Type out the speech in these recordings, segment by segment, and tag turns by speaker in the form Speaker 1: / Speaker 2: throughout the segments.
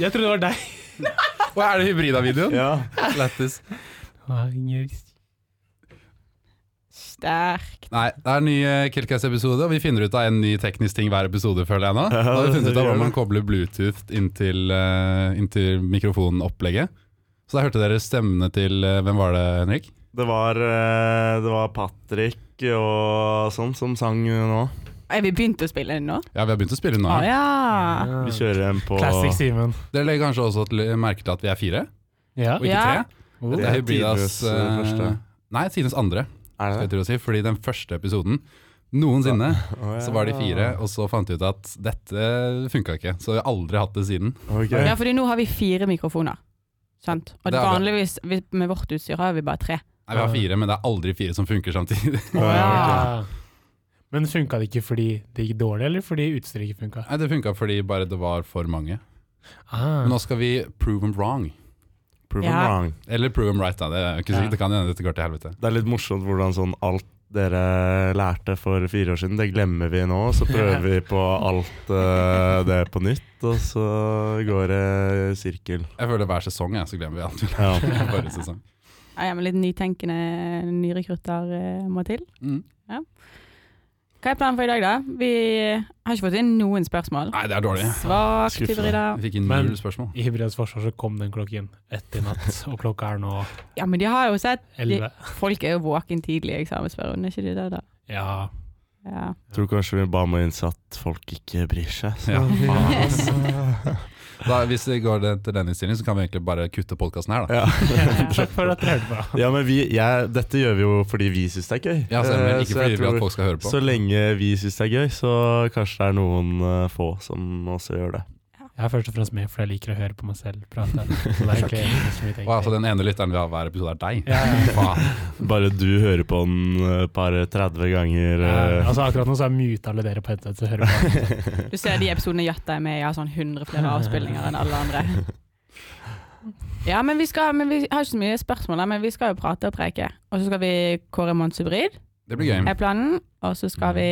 Speaker 1: Jeg trodde det var deg.
Speaker 2: Og er det hybrida-videoen?
Speaker 3: Ja.
Speaker 2: Lættis.
Speaker 4: Sterk.
Speaker 2: Nei, det er en ny Killcast-episode, og vi finner ut av en ny teknisk ting hver episode, føler jeg nå. Da har vi funnet ut av hvordan man kobler Bluetooth inntil, uh, inntil mikrofonopplegget. Så der hørte dere stemmene til eh, Hvem var det, Henrik?
Speaker 3: Det var, eh, det var Patrick og sånn som sang nå.
Speaker 4: Er vi begynt å spille den nå?
Speaker 2: Ja, vi har begynt å spille nå.
Speaker 4: Å
Speaker 2: ja.
Speaker 4: Ah, ja.
Speaker 3: Vi kjører en på
Speaker 1: Classic Simen.
Speaker 2: Dere legger kanskje også til- merke til at vi er fire,
Speaker 1: Ja.
Speaker 2: og ikke
Speaker 4: Ja.
Speaker 2: tre?
Speaker 1: Oh.
Speaker 2: Det
Speaker 3: Det
Speaker 2: er
Speaker 3: er
Speaker 2: hybridas
Speaker 3: tidenes, eh,
Speaker 2: eh,
Speaker 3: første.
Speaker 2: Nei, tidenes andre, skal
Speaker 3: Er det
Speaker 2: jeg
Speaker 3: det?
Speaker 2: til å si. Fordi den første episoden noensinne
Speaker 3: Å, ja.
Speaker 2: så var de fire, og så fant de ut at dette funka ikke. Så vi har aldri hatt det siden.
Speaker 3: Ok.
Speaker 4: ja, fordi nå har vi fire mikrofoner. Sant? Og
Speaker 2: Det har vi.
Speaker 4: vanligvis vi- med vårt utstyr har vi bare tre.
Speaker 2: Nei, vi har fire, men det er aldri fire som funker samtidig.
Speaker 3: Å, ja, ok.
Speaker 1: Ja. Men funka det ikke fordi det gikk dårlig, eller fordi utstyret ikke funka?
Speaker 2: Nei, Det funka fordi bare det var for mange.
Speaker 1: Ah.
Speaker 2: Men nå skal vi prove them wrong.
Speaker 3: Prove
Speaker 4: Ja.
Speaker 3: them wrong.
Speaker 2: Eller prove them right, da. Det, er jo ikke sikkert,
Speaker 1: Ja.
Speaker 2: det kan hende dette går til helvete.
Speaker 3: Det er litt morsomt hvordan sånn alt dere lærte for fire år siden, det glemmer vi nå. Så prøver vi på alt eh, det på nytt, og så går det i sirkel.
Speaker 2: Jeg føler hver sesong jeg, så glemmer vi alt vi
Speaker 3: Ja.
Speaker 2: lærte forrige sesong.
Speaker 4: Ja, ja, men litt nytenkende nyrekrutter eh, må til.
Speaker 2: Mm.
Speaker 4: Hva er planen for i dag, da? Vi har ikke fått inn noen spørsmål.
Speaker 2: Nei, det er dårlig.
Speaker 4: Svakt
Speaker 3: Skuffende.
Speaker 4: hybrid, da.
Speaker 2: Vi fikk inn
Speaker 1: Men-
Speaker 2: null spørsmål.
Speaker 1: I Hybridas forsvar så kom den klokken ett i natt, og klokka er nå
Speaker 4: Ja, men de har jo sett
Speaker 1: elleve.
Speaker 4: Folk er jo våken tidlig i eksamensperioden, er ikke de det, da?
Speaker 1: Ja.
Speaker 4: Ja.
Speaker 3: Tror kanskje vi bare må innse at folk ikke bryr seg. Så.
Speaker 2: Ja.
Speaker 3: Faen, altså. ass.
Speaker 2: Da, hvis det går det til den innstillingen, så kan vi egentlig bare kutte podkasten her, da.
Speaker 3: Ja.
Speaker 1: Takk for at dere hørte på.
Speaker 3: ja, men vi, jeg, dette gjør vi jo fordi vi syns det er gøy.
Speaker 2: Ja, selv om
Speaker 3: Eh,
Speaker 2: ikke
Speaker 3: så jeg
Speaker 2: fordi vi vil at
Speaker 3: tror-
Speaker 2: folk skal høre på.
Speaker 3: Så lenge vi syns det er gøy, så kanskje det er noen eh, få som også gjør det.
Speaker 1: Jeg er først og fremst med fordi jeg liker å høre på meg selv prate. Så det er egentlig ikke så mye
Speaker 2: Og altså,
Speaker 1: tenking.
Speaker 2: den ene lytteren vi har hver episode, er deg.
Speaker 1: Ja, ja.
Speaker 2: Faen.
Speaker 3: Bare du hører på den eh, et par 30 ganger.
Speaker 1: Ja,
Speaker 3: eh.
Speaker 1: altså Akkurat nå så er mute alle dere på headset og hører på.
Speaker 4: Du ser de episodene Jatta er med i, har sånn 100 flere avspillinger enn alle andre. Ja, men vi, skal, men vi har ikke så mye spørsmål, da, men vi skal jo prate og preike. Og så skal vi kåre månedens hybrid,
Speaker 2: Det blir gøy.
Speaker 4: er planen. Og så
Speaker 3: Mm.
Speaker 4: skal vi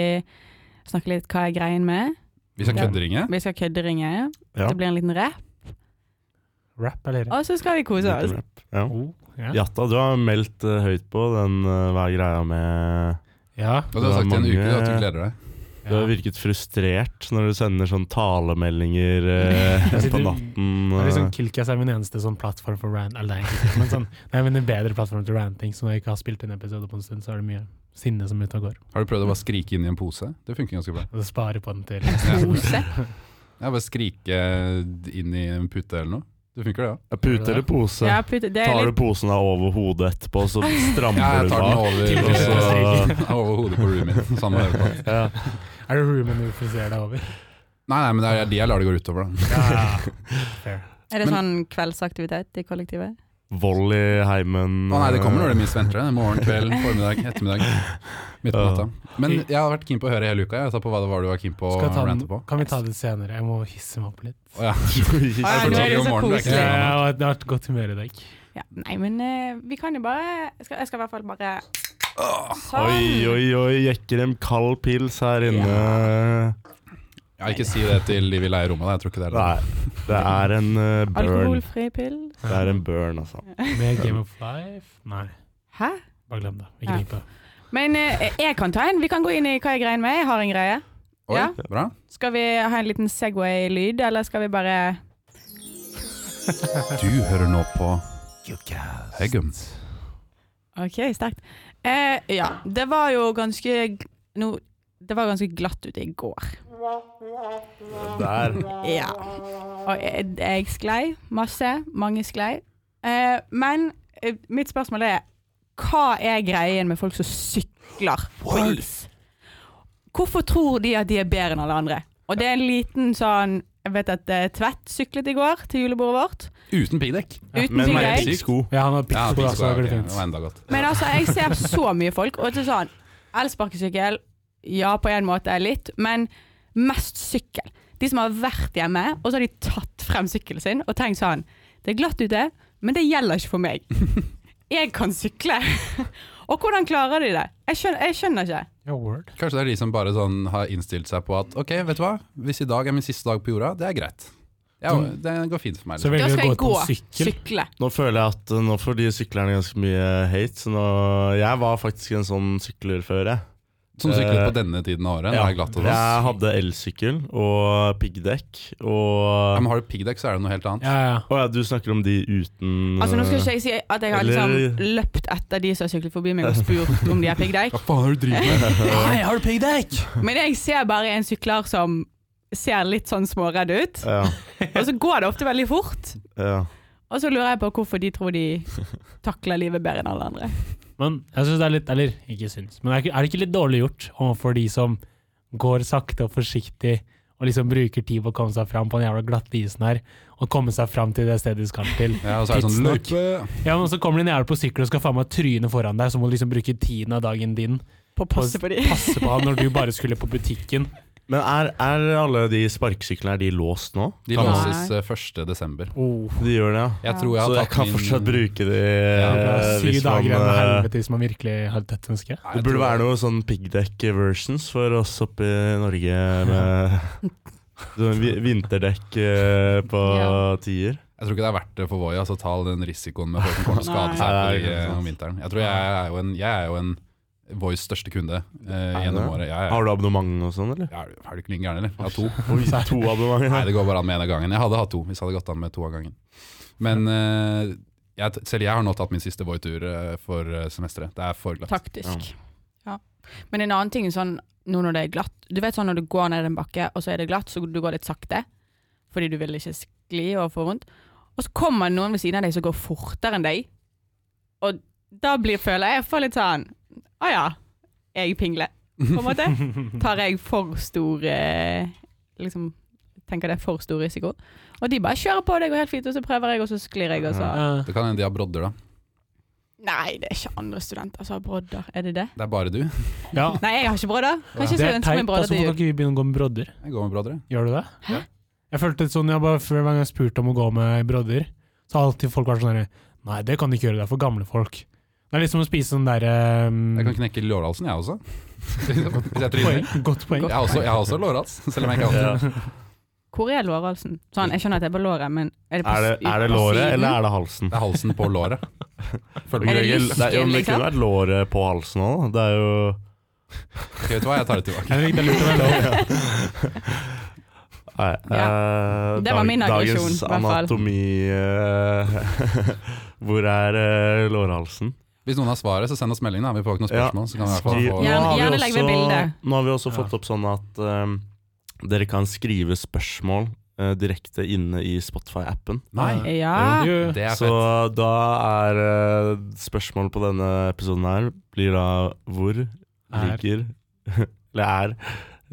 Speaker 4: snakke litt hva er greien med.
Speaker 2: Vi skal kødderinge.
Speaker 4: Vi skal kødderinge.
Speaker 3: Ja.
Speaker 4: Det blir en liten rap.
Speaker 1: Rap, eller?
Speaker 4: Og så skal vi kose oss.
Speaker 3: Liten rap. Ja.
Speaker 1: Oh, ja.
Speaker 3: Jatta, du har meldt eh, høyt på den eh, hva er greia med
Speaker 1: ja.
Speaker 2: Og du har sagt i en uke
Speaker 3: Det er
Speaker 2: da, at du
Speaker 3: mange-
Speaker 2: gleder deg.
Speaker 3: Du har virket frustrert når du sender sånn talemeldinger eh,
Speaker 1: Jeg sitter-
Speaker 3: på natten.
Speaker 1: Det er liksom
Speaker 3: eh.
Speaker 1: Kilkas er min eneste sånn plattform for rant. Eller det er egentlig ikke, men sånn, det er min bedre plattform til ranting, så når jeg ikke har spilt en episode på en stund, så er det mye sinne som er ute og går.
Speaker 2: Har du prøvd å bare skrike inn i en pose? Det funker ganske bra.
Speaker 1: Og så sparer jeg på den til
Speaker 4: Kose.
Speaker 2: Ja, bare skrike inn i en pute eller noe. Det funker det, ja.
Speaker 3: Pute eller pose?
Speaker 4: Ja, putte, det er
Speaker 3: Tar du
Speaker 4: litt
Speaker 3: posen deg over hodet etterpå, så
Speaker 2: ja
Speaker 3: strammer
Speaker 2: jeg
Speaker 3: du
Speaker 2: tar den
Speaker 3: bak.
Speaker 2: over,
Speaker 3: Og så,
Speaker 2: eh, over hodet på roomien min. Samme høyde på.
Speaker 3: ja.
Speaker 1: Er det roomen du friserer deg over?
Speaker 2: Nei, nei, men det er de jeg lar det gå utover, da.
Speaker 1: Ja, fair.
Speaker 4: Er det sånn kveldsaktivitet i kollektivet?
Speaker 3: Vold i heimen.
Speaker 2: Å nei, det kommer når de minst venter det. Morgen, kveld, formiddag, ettermiddag. Midt på natta. Men jeg har vært keen på å høre hele uka. Jeg sa på hva det var du var keen på å
Speaker 1: Skal jeg ta den,
Speaker 2: rante på.
Speaker 1: kan vi ta det senere? Jeg må hisse meg opp litt.
Speaker 2: Å, ja. Jeg
Speaker 4: Nei, nå
Speaker 2: fortalte
Speaker 4: er det
Speaker 2: jo
Speaker 4: så
Speaker 2: om
Speaker 1: Jeg
Speaker 2: morgenen, det er ikke
Speaker 4: koselig.
Speaker 2: det samme.
Speaker 1: har vært godt humør i dag.
Speaker 4: Ja, nei, men eh, vi kan jo bare jeg skal, Jeg skal i hvert fall bare Sånn.
Speaker 3: Oi, oi, oi, jekker en kald pils her inne.
Speaker 2: Ja, ikke si det til de vi leier rommet, da. Jeg tror ikke det er det.
Speaker 3: Nei, det er en eh, burn.
Speaker 4: Alkoholfri pils.
Speaker 3: Det er en burn, altså.
Speaker 1: Med Game of Life Nei,
Speaker 4: Hæ?
Speaker 1: bare glem det.
Speaker 4: Ja.
Speaker 1: Ikke tenk på det.
Speaker 4: Men eh, jeg kan ta en. Vi kan gå inn i hva jeg greier med. Jeg har en greie.
Speaker 2: Oi,
Speaker 4: Ja.
Speaker 2: bra.
Speaker 4: Skal vi ha en liten Segway-lyd, eller skal vi bare
Speaker 2: Du hører nå på Heggum.
Speaker 4: OK, sterkt. Eh, ja, det var jo ganske g- no, Det var ganske glatt ute i går.
Speaker 3: Der.
Speaker 4: Ja. Og jeg, jeg sklei masse. Mange sklei. Eh, men eh, mitt spørsmål er Hva er greien med folk som sykler på is? Hvorfor tror de at de er bedre enn alle andre? Og det er en liten sånn Jeg vet at eh, Tvedt syklet i går til julebordet vårt.
Speaker 2: Uten piggdekk.
Speaker 4: Uten
Speaker 3: Men med
Speaker 4: piggdekk.
Speaker 2: piggdekk.
Speaker 3: piggsko.
Speaker 1: Ja, han har
Speaker 2: Ja,
Speaker 1: pikksko, da, så
Speaker 2: piggsko,
Speaker 1: da
Speaker 2: ja,
Speaker 1: går
Speaker 2: ok,
Speaker 1: det
Speaker 2: det
Speaker 1: fint.
Speaker 2: var enda godt.
Speaker 4: Men altså, jeg ser så mye folk. Og til sånn Elsparkesykkel, ja, på en måte litt, men mest sykkel. De som har vært hjemme, og så har de tatt frem sykkelen sin og tenkt sånn Det er glatt ute, men det gjelder ikke for meg. Jeg kan sykle. og hvordan klarer de det? Jeg skjønner, jeg skjønner ikke.
Speaker 1: Ja, word.
Speaker 2: Kanskje det er de som bare sånn har innstilt seg på at ok, vet du hva, hvis i dag er min siste dag på jorda, det er greit. Ja,
Speaker 3: Mm.
Speaker 2: det går fint for meg.
Speaker 1: Så
Speaker 2: Liksom.
Speaker 4: Da
Speaker 1: velger du
Speaker 4: skal
Speaker 1: å gå
Speaker 4: jeg
Speaker 1: ut
Speaker 4: gå.
Speaker 1: på sykkel.
Speaker 4: Sykle.
Speaker 3: Nå føler jeg at eh, nå får de syklerne ganske mye hate. Så nå, jeg var faktisk en sånn sykler før, jeg.
Speaker 2: Som sykler på denne tiden av året. Nå er det glatt og
Speaker 3: Eh, jeg
Speaker 2: sånn.
Speaker 3: hadde elsykkel og piggdekk
Speaker 2: Ja,
Speaker 3: og
Speaker 2: men har du piggdekk, så er det noe helt annet.
Speaker 1: Ja, ja.
Speaker 3: Å ja, du snakker om de uten eh,
Speaker 4: Altså Nå skulle ikke jeg si at jeg har liksom
Speaker 3: Eller-
Speaker 4: løpt etter de som har syklet forbi meg og spurt om de har piggdekk,
Speaker 2: Hva faen er det du driver med?
Speaker 1: Hei, har du piggdekk?
Speaker 4: men jeg ser bare en sykler som ser litt sånn småredd ut.
Speaker 3: Ja,
Speaker 4: Og så går det ofte veldig fort.
Speaker 3: ja.
Speaker 4: Og så lurer jeg på hvorfor de tror de takler livet bedre enn alle andre.
Speaker 1: Men jeg synes det er litt Eller ikke syns, men er ikke- er det ikke litt dårlig gjort overfor de som går sakte og forsiktig og liksom bruker tid på å komme seg fram på den jævla glatte isen her, og komme seg fram til det stedet de skal til?
Speaker 2: Ja, og så er det sånn
Speaker 1: Tidsnok.
Speaker 2: løype.
Speaker 1: Ja, men så kommer det en jævla på sykkel og skal faen meg tryne foran deg, så må du liksom bruke tiden av dagen din
Speaker 4: På å
Speaker 1: på
Speaker 4: passe på de.
Speaker 1: passe på han når du bare skulle på butikken.
Speaker 3: Men er, er alle de sparkesyklene er de låst nå?
Speaker 2: De
Speaker 3: Kan-
Speaker 2: låses eh, 1. desember.
Speaker 1: Oh.
Speaker 3: De gjør det, ja.
Speaker 2: Jeg
Speaker 4: Ja.
Speaker 2: tror jeg
Speaker 3: Så
Speaker 2: har
Speaker 3: jeg
Speaker 2: tatt
Speaker 3: kan
Speaker 2: min-
Speaker 3: fortsatt bruke de
Speaker 2: Ja,
Speaker 1: Det
Speaker 3: eh,
Speaker 1: er syv
Speaker 3: hvis man
Speaker 1: dager igjen av
Speaker 3: eh,
Speaker 1: helvete hvis man virkelig har et dødt ønske.
Speaker 2: Nei, jeg
Speaker 3: Det burde
Speaker 2: tror-
Speaker 3: være noe sånn piggdekk-versions for oss oppe i Norge med sånn vi- vinterdekk eh, på
Speaker 4: Ja.
Speaker 3: tier.
Speaker 2: Jeg tror ikke det er verdt det for Voi altså, å ta all den risikoen med folk som kommer til å skade
Speaker 4: Nei.
Speaker 2: seg på
Speaker 3: Nei, det er
Speaker 2: de-
Speaker 3: ikke sant.
Speaker 2: om vinteren. Jeg tror jeg er jo en, jeg er jo en Voi's største kunde eh,
Speaker 3: Er
Speaker 2: gjennom året.
Speaker 3: det?
Speaker 2: Jeg,
Speaker 3: Har du abonnement og sånn, eller?
Speaker 2: jeg, er, er du klin gæren, eller? Jeg har to.
Speaker 3: Oi, to abonnement.
Speaker 2: Nei,
Speaker 3: ja.
Speaker 2: det går bare an med en av gangen. Jeg hadde hatt to hvis jeg hadde gått an med to av gangen. Men eh, jeg, t- selv jeg har nå tatt min siste Voi-tur eh, for eh, semesteret. Det er for glatt.
Speaker 4: Taktisk. Ja. Men en annen ting er sånn nå når det er glatt Du vet sånn når du går ned en bakke, og så er det glatt, så du går litt sakte fordi du vil ikke skli og få vondt. Og så kommer noen ved siden av deg som går fortere enn deg, og da blir, føler jeg jeg får litt sånn Å ja, jeg pingler, på en måte. Tar jeg for stor eh, Liksom tenker det er for stor risiko. Og de bare kjører på, det går helt fint, og så prøver jeg, og så sklir jeg, og så
Speaker 1: Ja.
Speaker 2: Det kan hende de har brodder, da.
Speaker 4: Nei, det er ikke andre studenter som har brodder, er det det?
Speaker 2: Det er bare du.
Speaker 1: Ja.
Speaker 4: Nei, jeg har ikke brodder. Kanskje
Speaker 1: Det
Speaker 4: jeg
Speaker 1: er
Speaker 4: ønsker
Speaker 1: teit,
Speaker 4: meg en
Speaker 1: altså.
Speaker 4: brodder til
Speaker 1: Hvorfor kan
Speaker 4: jul.
Speaker 1: ikke vi begynne å gå med brodder?
Speaker 2: Jeg går med brodder, jeg.
Speaker 1: Gjør du det?
Speaker 4: Hæ?
Speaker 2: Ja.
Speaker 1: Jeg følte det sånn, jeg bare, Hver gang jeg spurte om å gå med brodder, så har alltid folk vært sånn der, Nei, det kan du ikke gjøre, det er for gamle folk. Det er liksom å spise sånn derre
Speaker 2: Jeg kan knekke lårhalsen, jeg også. Hvis jeg tryner.
Speaker 1: Godt poeng.
Speaker 2: Jeg har også, jeg har også lårhals, selv om jeg ikke har det.
Speaker 4: Hvor er lårhalsen? Sånn, jeg skjønner at det er på låret, men er det på
Speaker 3: Er det, er det låret, eller er det halsen?
Speaker 2: Det er halsen på låret. Følg
Speaker 4: Er
Speaker 2: med.
Speaker 4: det
Speaker 3: jo,
Speaker 4: lysken,
Speaker 3: jo, men det
Speaker 4: liksom?
Speaker 3: kunne vært låret på halsen òg. Det er jo
Speaker 2: Ok, vet du hva, jeg tar det tilbake.
Speaker 1: Jeg likte det litt å være lov.
Speaker 3: Nei, eh,
Speaker 4: Det var
Speaker 3: dag-
Speaker 4: min aggresjon,
Speaker 3: Dagens
Speaker 4: i hvert fall.
Speaker 3: anatomi eh, Hvor er eh, lårhalsen?
Speaker 2: Hvis noen har svaret, så send oss melding. da Vi får ikke noe spørsmål. Så kan vi i hvert fall
Speaker 3: Skriv-
Speaker 2: få
Speaker 4: Ja.
Speaker 2: ja.
Speaker 4: Gjerne-
Speaker 3: Nå har vi
Speaker 4: gjerne legg ved
Speaker 3: også-
Speaker 4: bildet.
Speaker 3: Nå har vi også
Speaker 1: Ja.
Speaker 3: fått opp sånn at ehm, dere kan skrive spørsmål eh, direkte inne i Spotify-appen.
Speaker 2: Nei,
Speaker 1: Ja.
Speaker 4: Ja.
Speaker 1: Jo.
Speaker 2: det er
Speaker 3: Så
Speaker 2: fett.
Speaker 3: da er eh, spørsmålet på denne episoden her blir da hvor ligger Eller er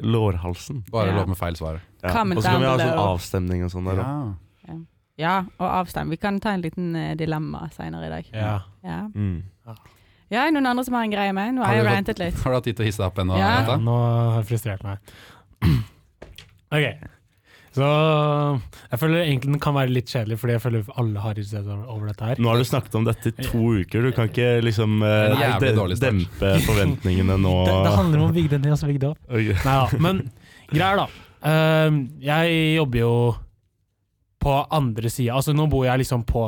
Speaker 3: lårhalsen?
Speaker 2: Bare
Speaker 4: Ja.
Speaker 2: lov med feil svar.
Speaker 3: Ja.
Speaker 4: Hva med
Speaker 3: Og så kan vi ha
Speaker 4: dandelion?
Speaker 3: sånn avstemning og sånn der.
Speaker 2: Ja.
Speaker 3: da.
Speaker 4: ja, og avstand. Vi kan ta en liten eh, dilemma senere i dag.
Speaker 1: Ja.
Speaker 4: Ja.
Speaker 3: Mm.
Speaker 4: ja, er det noen andre som har en greie med? Nå
Speaker 2: Har
Speaker 4: har jeg
Speaker 2: vi
Speaker 4: rantet litt.
Speaker 2: Har du hatt tid til å hisse deg opp ennå?
Speaker 4: Ja.
Speaker 1: Ja,
Speaker 2: Renata?
Speaker 1: nå har jeg frustrert meg. Ok. Så jeg føler egentlig den kan være litt kjedelig, fordi jeg føler alle har irritert over over dette her.
Speaker 3: Nå har du snakket om dette i to uker, du kan ikke liksom eh,
Speaker 2: En jævlig
Speaker 3: de-
Speaker 2: dårlig start.
Speaker 3: dempe forventningene nå.
Speaker 1: Det, det handler om altså, å bygge det ned og så bygge det opp.
Speaker 3: Ok.
Speaker 1: Nei da. Men greier, da. Ehm, jeg jobber jo på andre sida. Altså, nå bor jeg liksom på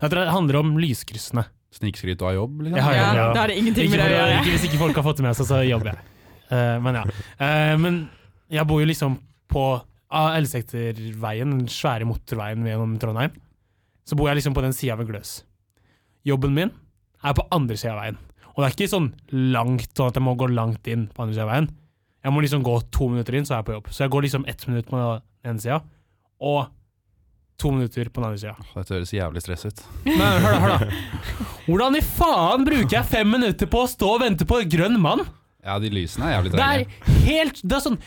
Speaker 1: Jeg tror det handler om lyskryssene.
Speaker 2: Snikskryt og ha jobb?
Speaker 1: Jeg
Speaker 2: Liksom?
Speaker 1: har
Speaker 4: Ja,
Speaker 1: jobb, ja.
Speaker 4: Da har det ingenting
Speaker 1: Ikke,
Speaker 4: med det å
Speaker 1: fordi-
Speaker 4: gjøre.
Speaker 1: ikke hvis ikke folk har fått det med seg, så jobber jeg. Eh, men ja. Eh, men jeg bor jo liksom på av Elsekterveien, den svære motorveien gjennom Trondheim. Så bor jeg liksom på den sida ved Gløs. Jobben min er på andre sida av veien. Og det er ikke sånn langt, sånn at jeg må gå langt inn på andre sida av veien. Jeg må liksom gå to minutter inn, så er jeg på jobb. Så jeg går liksom ett minutt på den ene sida, og to minutter på den andre sida.
Speaker 2: Dette høres jævlig stress ut.
Speaker 1: Men hør da, hør da. Hvordan i faen bruker jeg fem minutter på å stå og vente på en grønn mann?
Speaker 2: Ja, de lysene er jævlig
Speaker 1: Det er
Speaker 2: trege.
Speaker 1: helt Det er sånn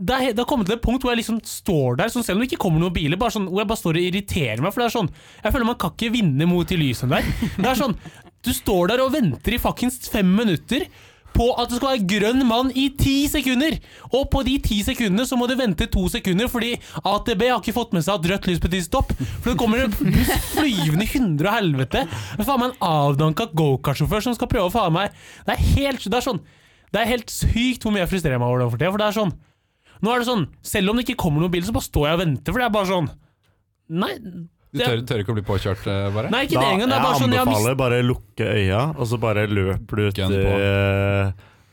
Speaker 1: det er, det har kommet til et punkt hvor jeg liksom står der, sånn, selv om det ikke kommer noen biler, bare sånn, hvor jeg bare står og irriterer meg. For det er sånn Jeg føler man kan ikke vinne mot de lysene der. Det er sånn Du står der og venter i fuckings fem minutter på at det skal være grønn mann i ti sekunder! Og på de ti sekundene så må du vente to sekunder, fordi AtB har ikke fått med seg at rødt lys betyr stopp. For det kommer en buss flyvende i hundre og helvete. Det er faen meg en avdanka gokartsjåfør som skal prøve å faen meg Det er helt Det er sånn det er helt sykt hvor mye jeg frustrerer meg over det for tida. For det er sånn Nå er det sånn Selv om det ikke kommer noen bil, så bare står jeg og venter, for det er bare sånn Nei,
Speaker 2: Du tør, tør ikke å bli påkjørt, eh, bare?
Speaker 1: nei ikke det engang. Det er bare sånn jeg
Speaker 3: jeg
Speaker 1: har mist...
Speaker 3: anbefaler bare lukke øya, og så bare løper du ut
Speaker 2: Gun
Speaker 3: i
Speaker 2: på.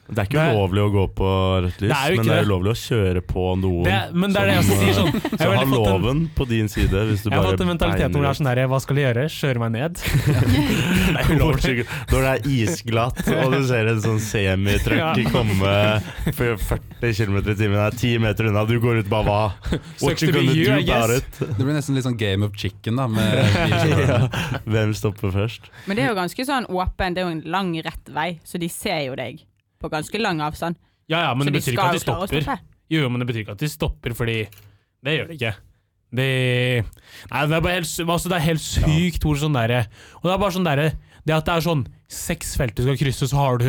Speaker 3: Det er ikke
Speaker 1: Nei.
Speaker 3: ulovlig å gå på rødt lys,
Speaker 1: Det er jo
Speaker 3: men
Speaker 1: ikke
Speaker 3: det er
Speaker 1: det.
Speaker 3: ulovlig å kjøre på noen.
Speaker 1: Det, men det er det jeg også sier sånn. Jeg
Speaker 3: så
Speaker 1: har
Speaker 3: ha
Speaker 1: veldig fått en,
Speaker 3: loven på din side hvis du
Speaker 1: jeg har
Speaker 3: bare
Speaker 1: fått en mentalitet hvor det er sånn her Hva skal jeg gjøre? Kjøre meg ned? Det er ulovlig.
Speaker 3: Portugal. Når det er isglatt, og du ser en sånn semitruck
Speaker 1: Ja.
Speaker 3: komme for 40 km i timen, det er 10 meter unna, du går ut bare hva? What
Speaker 1: Sucks
Speaker 3: you
Speaker 1: to be
Speaker 3: gonna
Speaker 1: you,
Speaker 3: do
Speaker 1: I guess.
Speaker 3: about it?
Speaker 2: Det blir nesten litt sånn Game of Chicken, da. Med bilsjåførene.
Speaker 3: ja. Hvem stopper først?
Speaker 4: Men det er jo ganske sånn åpen, det er jo en lang rett vei, så de ser jo deg på ganske lang avstand.
Speaker 1: Ja ja, men
Speaker 4: så
Speaker 1: det betyr ikke at de
Speaker 4: skal jo klare å
Speaker 1: stopper. Jo, jo, men det betyr ikke at de stopper, fordi det gjør de ikke. De Nei, det er bare helt, sy- altså, det er helt sykt hvor sånn derre Og det er bare sånn derre Det at det er sånn seks felt du skal krysse, så har du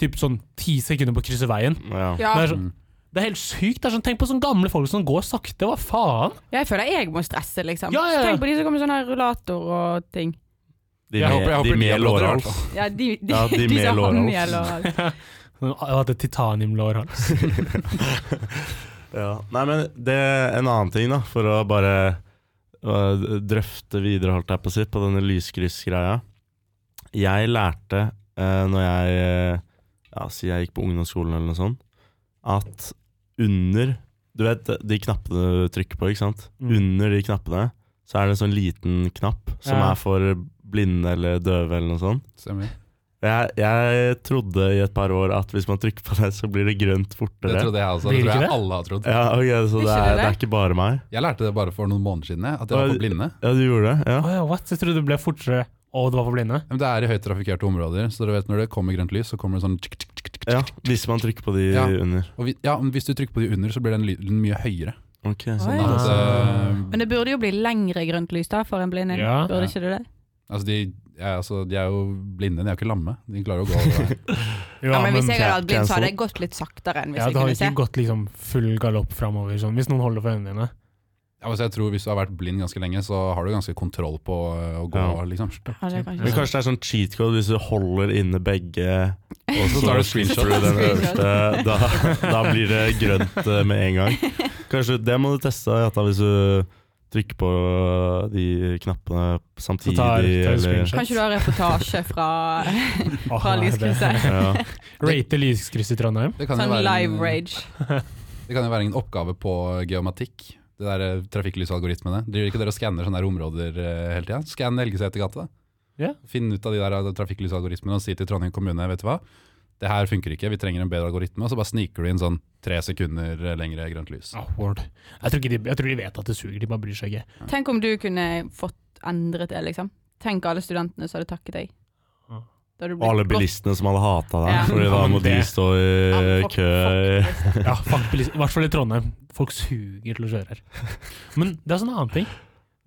Speaker 1: typ sånn ti sekunder på å krysse veien.
Speaker 3: Ja.
Speaker 4: Ja,
Speaker 1: Det, er sånn, det er helt sykt. Det er sånn, tenk på sånne gamle folk som går sakte. Hva faen?
Speaker 4: jeg føler jeg må stresse, liksom.
Speaker 1: Ja, ja, ja.
Speaker 4: Tenk på de som kommer med sånn her rullator og ting.
Speaker 3: De
Speaker 2: Jeg
Speaker 3: med,
Speaker 2: håper- jeg håper
Speaker 3: de
Speaker 2: ikke
Speaker 3: med
Speaker 2: jeg blir
Speaker 3: lårhals.
Speaker 2: dratt,
Speaker 4: Ja, de, de,
Speaker 3: Ja, de med
Speaker 4: som har
Speaker 3: lårhals.
Speaker 4: med lårhals.
Speaker 1: Jeg hadde titaniumlårhals.
Speaker 3: Ja. Nei, men det er en annen ting, da, for å bare øh, drøfte videre, holdt jeg på å si, på denne lyskryssgreia. Jeg lærte øh, når jeg øh, Ja, si jeg gikk på ungdomsskolen eller noe sånt, at under Du vet de knappene du trykker på, ikke sant?
Speaker 1: Mm.
Speaker 3: Under de knappene så er det en sånn liten knapp som
Speaker 1: Ja.
Speaker 3: er for blinde eller døve eller noe sånt.
Speaker 2: Stemmer.
Speaker 3: Jeg, jeg trodde i et par år at hvis man trykker på det, så blir det grønt
Speaker 2: Det
Speaker 3: fortere.
Speaker 2: trodde jeg også.
Speaker 1: Blir det
Speaker 2: Det tror
Speaker 1: ikke
Speaker 2: jeg
Speaker 1: det?
Speaker 2: alle har trodd.
Speaker 3: Ja, ok, Så
Speaker 4: Ikke
Speaker 3: det er,
Speaker 4: det?
Speaker 3: det er ikke bare meg.
Speaker 2: Jeg lærte det bare for noen måneder siden, jeg, at jeg var
Speaker 3: Hva-
Speaker 2: for blinde.
Speaker 3: Ja, du gjorde det? Ja.
Speaker 1: Å ja, what? Jeg trodde det ble fortere. Å, det var for blinde?
Speaker 2: Men det er i høyt trafikkerte områder, så du vet når det kommer grønt lys, så kommer det sånn tsk, tsk, tsk, tsk, tsk.
Speaker 3: ja. Hvis man trykker på de
Speaker 2: Ja.
Speaker 3: under.
Speaker 2: Og vi, ja, men Hvis du trykker på de under, så blir den lyden mye høyere.
Speaker 3: Ok,
Speaker 4: Oi.
Speaker 3: sånn.
Speaker 2: Sånn at,
Speaker 1: Ah.
Speaker 2: eh,
Speaker 4: Men det burde jo bli lengre grønt lys da, for en blind en.
Speaker 1: Ja.
Speaker 4: Burde
Speaker 2: Ja.
Speaker 4: ikke det det?
Speaker 2: altså, de, ja, altså, de er jo blinde, de er jo ikke lamme. De klarer jo å gå over veien.
Speaker 4: Ja, men hvis jeg hadde
Speaker 3: ja,
Speaker 4: vært blind, så
Speaker 3: cancel.
Speaker 4: hadde jeg gått litt saktere enn
Speaker 1: ja,
Speaker 4: hvis jeg
Speaker 1: det har
Speaker 4: kunne
Speaker 1: ikke
Speaker 4: se.
Speaker 1: gått liksom full galopp framover, sånn, hvis noen holder for øynene dine.
Speaker 2: Ja, altså, jeg tror Hvis du har vært blind ganske lenge, så har du ganske kontroll på eh, å gå.
Speaker 3: Ja.
Speaker 2: liksom.
Speaker 4: Ja, det er kanskje
Speaker 3: Men
Speaker 4: sant.
Speaker 3: kanskje det er sånn cheat code hvis du holder inne begge og
Speaker 2: Så tar du screenshot.
Speaker 3: slipper du den
Speaker 4: Screenshot.
Speaker 3: øverste. Da, da blir det grønt eh, med en gang. Kanskje det må du teste Jatta, hvis du trykker på de knappene
Speaker 1: Så
Speaker 3: samtidig.
Speaker 1: tar, tar
Speaker 3: eller,
Speaker 1: screenshot.
Speaker 4: Kanskje du har reportasje fra
Speaker 1: Åh,
Speaker 4: fra
Speaker 1: nei, det-
Speaker 4: lyskrysset?
Speaker 3: ja.
Speaker 1: Rate lyskrysset i Trondheim.
Speaker 2: Det kan, jo
Speaker 4: Sånn
Speaker 2: være
Speaker 4: live
Speaker 2: en,
Speaker 4: rage.
Speaker 2: det kan jo være en oppgave på geomatikk. Det der eh, trafikklysalgoritmene. Driver ikke dere og skanner sånne der områder eh, hele tida? Skann Helgesetergata.
Speaker 1: Ja.
Speaker 2: Finn ut av de der eh, trafikklysalgoritmene og si til Trondheim kommune vet du hva, det her funker ikke, vi trenger en bedre algoritme. Og så bare sniker du inn sånn tre sekunder eh, lengre grønt lys.
Speaker 1: Ah, word. Jeg tror, ikke de, jeg tror de vet at det suger, de bare bryr seg ikke.
Speaker 4: Tenk om du kunne fått endret det, liksom. Tenk alle studentene som hadde takket deg.
Speaker 1: Ja.
Speaker 4: Da hadde du
Speaker 3: Og alle
Speaker 4: blitt godt-
Speaker 3: bilistene som hadde hata deg,
Speaker 4: Ja.
Speaker 3: Fordi
Speaker 1: Ja,
Speaker 3: da
Speaker 1: men
Speaker 3: må de
Speaker 1: det-
Speaker 3: stå
Speaker 4: Ja,
Speaker 3: i
Speaker 4: fuck-
Speaker 3: kø. i-
Speaker 4: fuck bilist.
Speaker 1: Ja, fuck bilist- I hvert fall i Trondheim. Folk suger til å kjøre her. Men det er sånn en annen ting.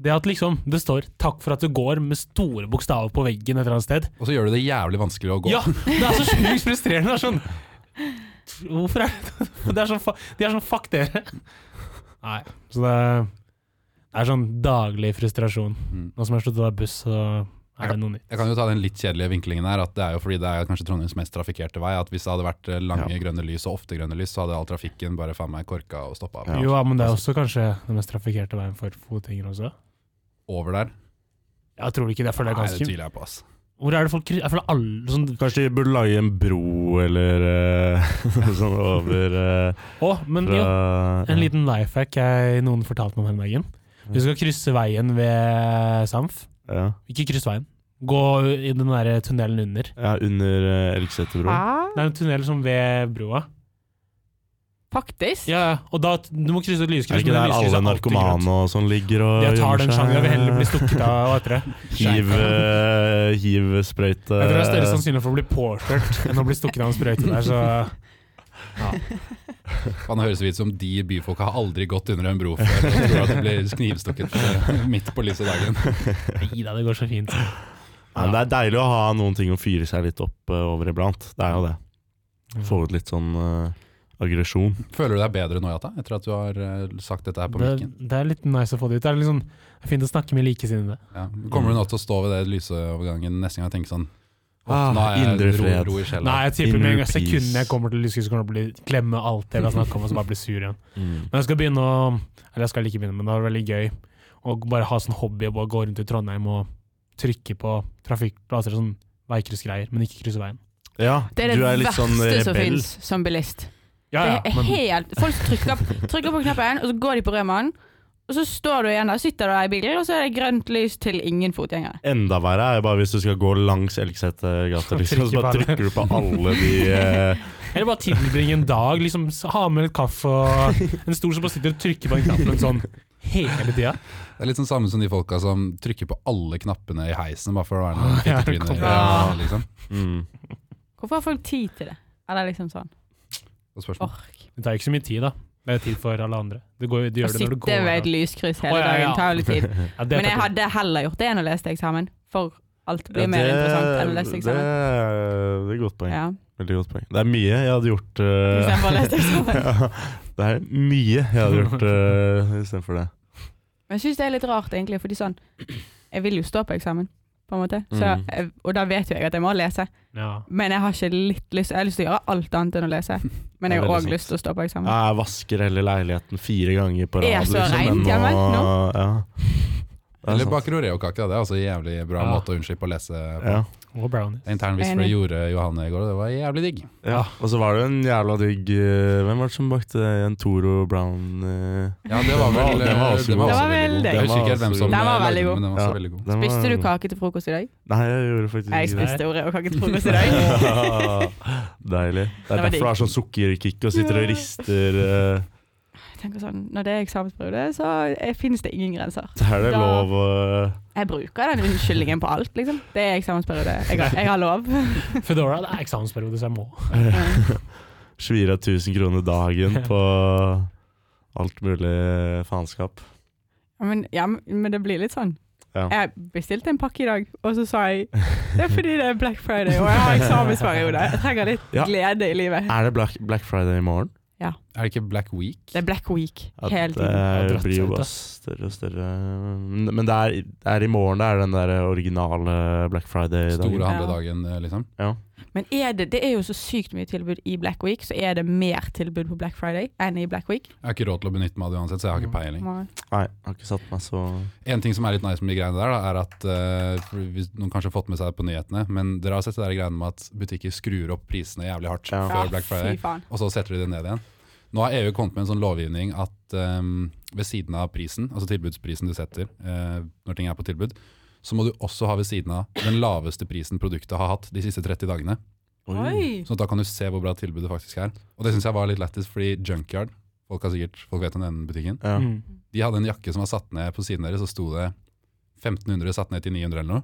Speaker 1: Det at liksom, det står 'takk for at du går' med store bokstaver på veggen et eller annet sted.
Speaker 2: Og så gjør du det jævlig vanskelig å gå.
Speaker 1: Ja, det er så sjukt frustrerende. Det er sånn Hvorfor er det Det er sånn, fa- De er sånn fuck dere. Nei. Så det er, det er sånn daglig frustrasjon.
Speaker 2: Mm.
Speaker 1: Nå som jeg har sluttet å ta buss, så er det noe nytt.
Speaker 2: Jeg kan jo ta den litt kjedelige vinklingen her, at det er jo fordi det er kanskje Trondheims mest trafikkerte vei, at hvis det hadde vært eh, lange grønne lys og ofte grønne lys, så hadde all trafikken bare faen meg korka og stoppa
Speaker 3: Ja.
Speaker 1: Jo, ja, men det er også kanskje den mest trafikkerte veien for fotgjengere også.
Speaker 2: over der.
Speaker 1: Jeg tror ikke det, jeg føler det er
Speaker 2: Nei, det
Speaker 1: ganske
Speaker 2: tviler jeg på, ass.
Speaker 1: Hvor er det folk kry- Jeg føler alle sånn
Speaker 3: Kanskje de burde lage en bro eller eh, sånn over eh,
Speaker 1: Å, men jo,
Speaker 3: fra Mm.
Speaker 1: en liten life hack jeg, noen fortalte meg om hele dagen. Hvis du skal krysse veien ved Samf,
Speaker 3: Ja,
Speaker 1: ikke kryss veien. Gå i den derre tunnelen under.
Speaker 3: ja under uh, Elgseterbroen.
Speaker 4: Hæ?
Speaker 1: Det er en tunnel som ved broa.
Speaker 4: Faktisk?
Speaker 1: Ja, ja, og da Du må krysse et
Speaker 3: Er det
Speaker 1: lyskryss.
Speaker 3: ikke
Speaker 1: men det
Speaker 3: der
Speaker 1: lyskrysset
Speaker 3: alle
Speaker 1: er alltid grønt.
Speaker 3: narkomane og sånn ligger og
Speaker 1: Jeg tar den sjangen jeg vil heller bli
Speaker 3: stukket.
Speaker 1: stukket av etter det.
Speaker 3: Hiv, eh, Hiv-sprøyte
Speaker 1: Jeg tror det er større sannsynlighet for å bli påkjørt enn å bli stukket av en sprøyte der, så
Speaker 2: Faen, det høres ut som de byfolka har aldri gått under en bro før. og tror at de blir knivstukket eh, midt på lyset av dagen.
Speaker 1: Nei da, det går så fint.
Speaker 3: Ja, men det er deilig å ha noen ting å fyre seg litt opp eh, over iblant. Det er jo det. Få ut litt sånn eh, aggresjon.
Speaker 2: Føler du deg bedre nå, Jata, etter at du har eh, sagt dette her på
Speaker 1: Det,
Speaker 2: mikken?
Speaker 1: det er litt nice å få det ut. Det er litt sånn det er fint å snakke med likesinnede.
Speaker 2: Ja. Kommer du nå til å stå ved det lysovergangen neste gang og tenke sånn «Åh,
Speaker 3: Ah,
Speaker 2: Nå er
Speaker 3: indre
Speaker 2: jeg ro,
Speaker 3: fred.»
Speaker 2: ro i sjela.
Speaker 1: Nei, jeg tipper med en
Speaker 3: Inner
Speaker 1: gang sekundene
Speaker 3: peace.
Speaker 1: jeg kommer til Lyskes, kommer jeg til å bli, glemme Mm. alt det vi har snakket om, og så bare bli sur igjen. Men jeg skal begynne å Eller jeg skal ikke begynne, men det var veldig gøy og bare ha sånn hobby og bare gå rundt i Trondheim og trykke på trafikkplasser og sånn veikryssgreier, men ikke krysse veien.
Speaker 3: Ja,
Speaker 4: Det er det
Speaker 3: du er litt
Speaker 4: verste
Speaker 3: sånn
Speaker 4: som
Speaker 3: rebell.
Speaker 4: finnes som bilist.
Speaker 1: Ja, ja,
Speaker 4: det er
Speaker 1: men,
Speaker 4: helt Folk trykker, trykker på knappen, og så går de på rødmannen. Og så står du igjen der, sitter du der i bilen, og så er det grønt lys til ingen fotgjengere.
Speaker 3: Enda verre er jo bare hvis du skal gå langs Elgsetergata, liksom, så bare
Speaker 1: Trykker på alle.
Speaker 3: trykker du på alle de eh,
Speaker 1: eller bare tilbringe en dag, liksom s- ha med litt kaffe og en stol som bare sitter og trykker på den knappen sånn hele tida.
Speaker 2: Det er litt sånn samme som de folka som trykker på alle knappene i heisen bare for å være noen
Speaker 1: Ja,
Speaker 2: fittetryne.
Speaker 1: kom-
Speaker 2: Ja, liksom.
Speaker 3: mm.
Speaker 4: Hvorfor har folk tid til det? Eller liksom sånn
Speaker 2: Og spørsmål.
Speaker 4: ork.
Speaker 1: Det tar jo ikke så mye tid, da. Det er tid for alle andre. Du, går, du
Speaker 4: Å
Speaker 1: gjør det når du
Speaker 4: sitte
Speaker 1: går.
Speaker 4: ved et lyskryss hele
Speaker 1: Å, ja, ja.
Speaker 4: dagen tar jo litt tid.
Speaker 1: Ja, det er
Speaker 4: Men jeg
Speaker 1: faktisk-
Speaker 4: hadde heller gjort det enn å lese til eksamen, for alt
Speaker 3: Ja,
Speaker 4: blir mer interessant enn å lese til
Speaker 3: det,
Speaker 4: eksamen.
Speaker 3: er- det er et godt poeng.
Speaker 4: Ja.
Speaker 3: Veldig godt poeng. Det er mye jeg hadde gjort eh,
Speaker 4: Istedenfor å lese til eksamen.
Speaker 3: ja, Det er mye jeg hadde gjort uh, istedenfor det.
Speaker 4: Men jeg syns det er litt rart, egentlig, fordi sånn Jeg vil jo stå på eksamen, på en måte. Så,
Speaker 3: Mm.
Speaker 4: jeg- og da vet jo jeg at jeg må lese.
Speaker 1: ja.
Speaker 4: Men jeg har ikke litt lyst Jeg har lyst til å gjøre alt annet enn å lese. Men jeg
Speaker 3: Det er
Speaker 4: har
Speaker 3: veldig
Speaker 4: òg
Speaker 3: sant.
Speaker 4: lyst til å stå på eksamen.
Speaker 3: Jeg vasker hele leiligheten fire ganger på
Speaker 4: Det
Speaker 3: rad. liksom,
Speaker 4: er så
Speaker 3: men
Speaker 4: rent
Speaker 3: nå-
Speaker 4: hjemme nå.
Speaker 3: Ja. Det er
Speaker 2: Eller
Speaker 3: sant.
Speaker 2: baker oreokake, da. det er også en jævlig bra
Speaker 1: Ja.
Speaker 2: måte å unnslippe å lese på.
Speaker 3: Ja.
Speaker 1: Og brownies.
Speaker 2: Internvis for det gjorde Johanne i går, og det var jævlig digg.
Speaker 3: ja. Og så var det jo en jævla digg eh, Hvem var det som bakte en Toro Brown? eh,
Speaker 2: Ja, det var vel
Speaker 3: Den var- den var også
Speaker 2: den
Speaker 3: god.
Speaker 4: Den var
Speaker 2: veldig god.
Speaker 4: veldig
Speaker 2: Jeg
Speaker 3: god.
Speaker 2: husker ikke helt hvem som
Speaker 4: Den var
Speaker 2: eh, lagde
Speaker 4: veldig god.
Speaker 2: men den var også
Speaker 3: Ja.
Speaker 2: veldig god.
Speaker 3: den var-
Speaker 4: Spiste du kake til frokost i dag?
Speaker 3: Nei, jeg gjorde faktisk
Speaker 4: Jeg
Speaker 3: ikke det.
Speaker 4: spiste oreokake til frokost i dag.
Speaker 3: Deilig. Det er derfor
Speaker 4: var digg.
Speaker 3: du har sånn sukkerkick og sitter og rister. eh,
Speaker 4: Jeg tenker sånn, Når det er eksamensperiode, så eh, finnes det ingen grenser.
Speaker 3: Så er det
Speaker 4: Da-
Speaker 3: lov å
Speaker 4: Jeg bruker den unnskyldningen på alt, liksom. Det er eksamensperiode. Jeg har, jeg har lov.
Speaker 1: Foodora det er eksamensperiode, så jeg må.
Speaker 3: svire av 1000 kroner dagen på alt mulig faenskap.
Speaker 4: Ja, Men, ja, men det blir litt sånn.
Speaker 3: Ja.
Speaker 4: Jeg bestilte en pakke i dag, og så sa jeg det er fordi det er Black Friday og jeg har eksamensperiode. Jeg trenger litt
Speaker 3: Ja.
Speaker 4: glede i livet.
Speaker 3: Er det Black, Black Friday i morgen?
Speaker 2: Er det ikke Black Week?
Speaker 4: Det er Black Week
Speaker 3: At eh,
Speaker 4: hele
Speaker 3: Det
Speaker 4: tiden.
Speaker 3: er-
Speaker 1: Det har dratt
Speaker 3: blir
Speaker 1: seg
Speaker 3: jo
Speaker 1: ut,
Speaker 3: bare større og større. Men det er, det er i morgen det er den der originale Black Friday-dagen.
Speaker 2: Store handledagen, eh, liksom.
Speaker 4: Men er det, det er jo så sykt mye tilbud i Black Week, så er det mer tilbud på Black Friday enn i Black Week?
Speaker 2: Jeg har ikke råd til å benytte meg av det uansett, så jeg har ikke peiling.
Speaker 4: Nei.
Speaker 3: Nei, jeg har ikke satt meg så
Speaker 2: En ting som er litt nice med de greiene der, da, er at eh, for hvis noen kanskje har fått med seg det på nyhetene, men dere har sett det der greiene med at butikker skrur opp prisene jævlig hardt
Speaker 3: Ja.
Speaker 2: før Black Friday,
Speaker 4: Fy faen.
Speaker 2: og så setter de det ned igjen. Nå har EU kommet med en sånn lovgivning at eh, ved siden av prisen, altså tilbudsprisen du setter eh, når ting er på tilbud, så må du også ha ved siden av den laveste prisen produktet har hatt de siste 30 dagene.
Speaker 4: Oi.
Speaker 2: Så da kan du se hvor bra tilbudet faktisk er. Og det syns jeg var litt lættis, fordi Junkyard, folk har sikkert, folk vet om den butikken,
Speaker 3: Ja.
Speaker 1: Mm.
Speaker 2: de hadde en jakke som var satt ned på siden deres, og sto det 1500 satt ned til 900 eller noe.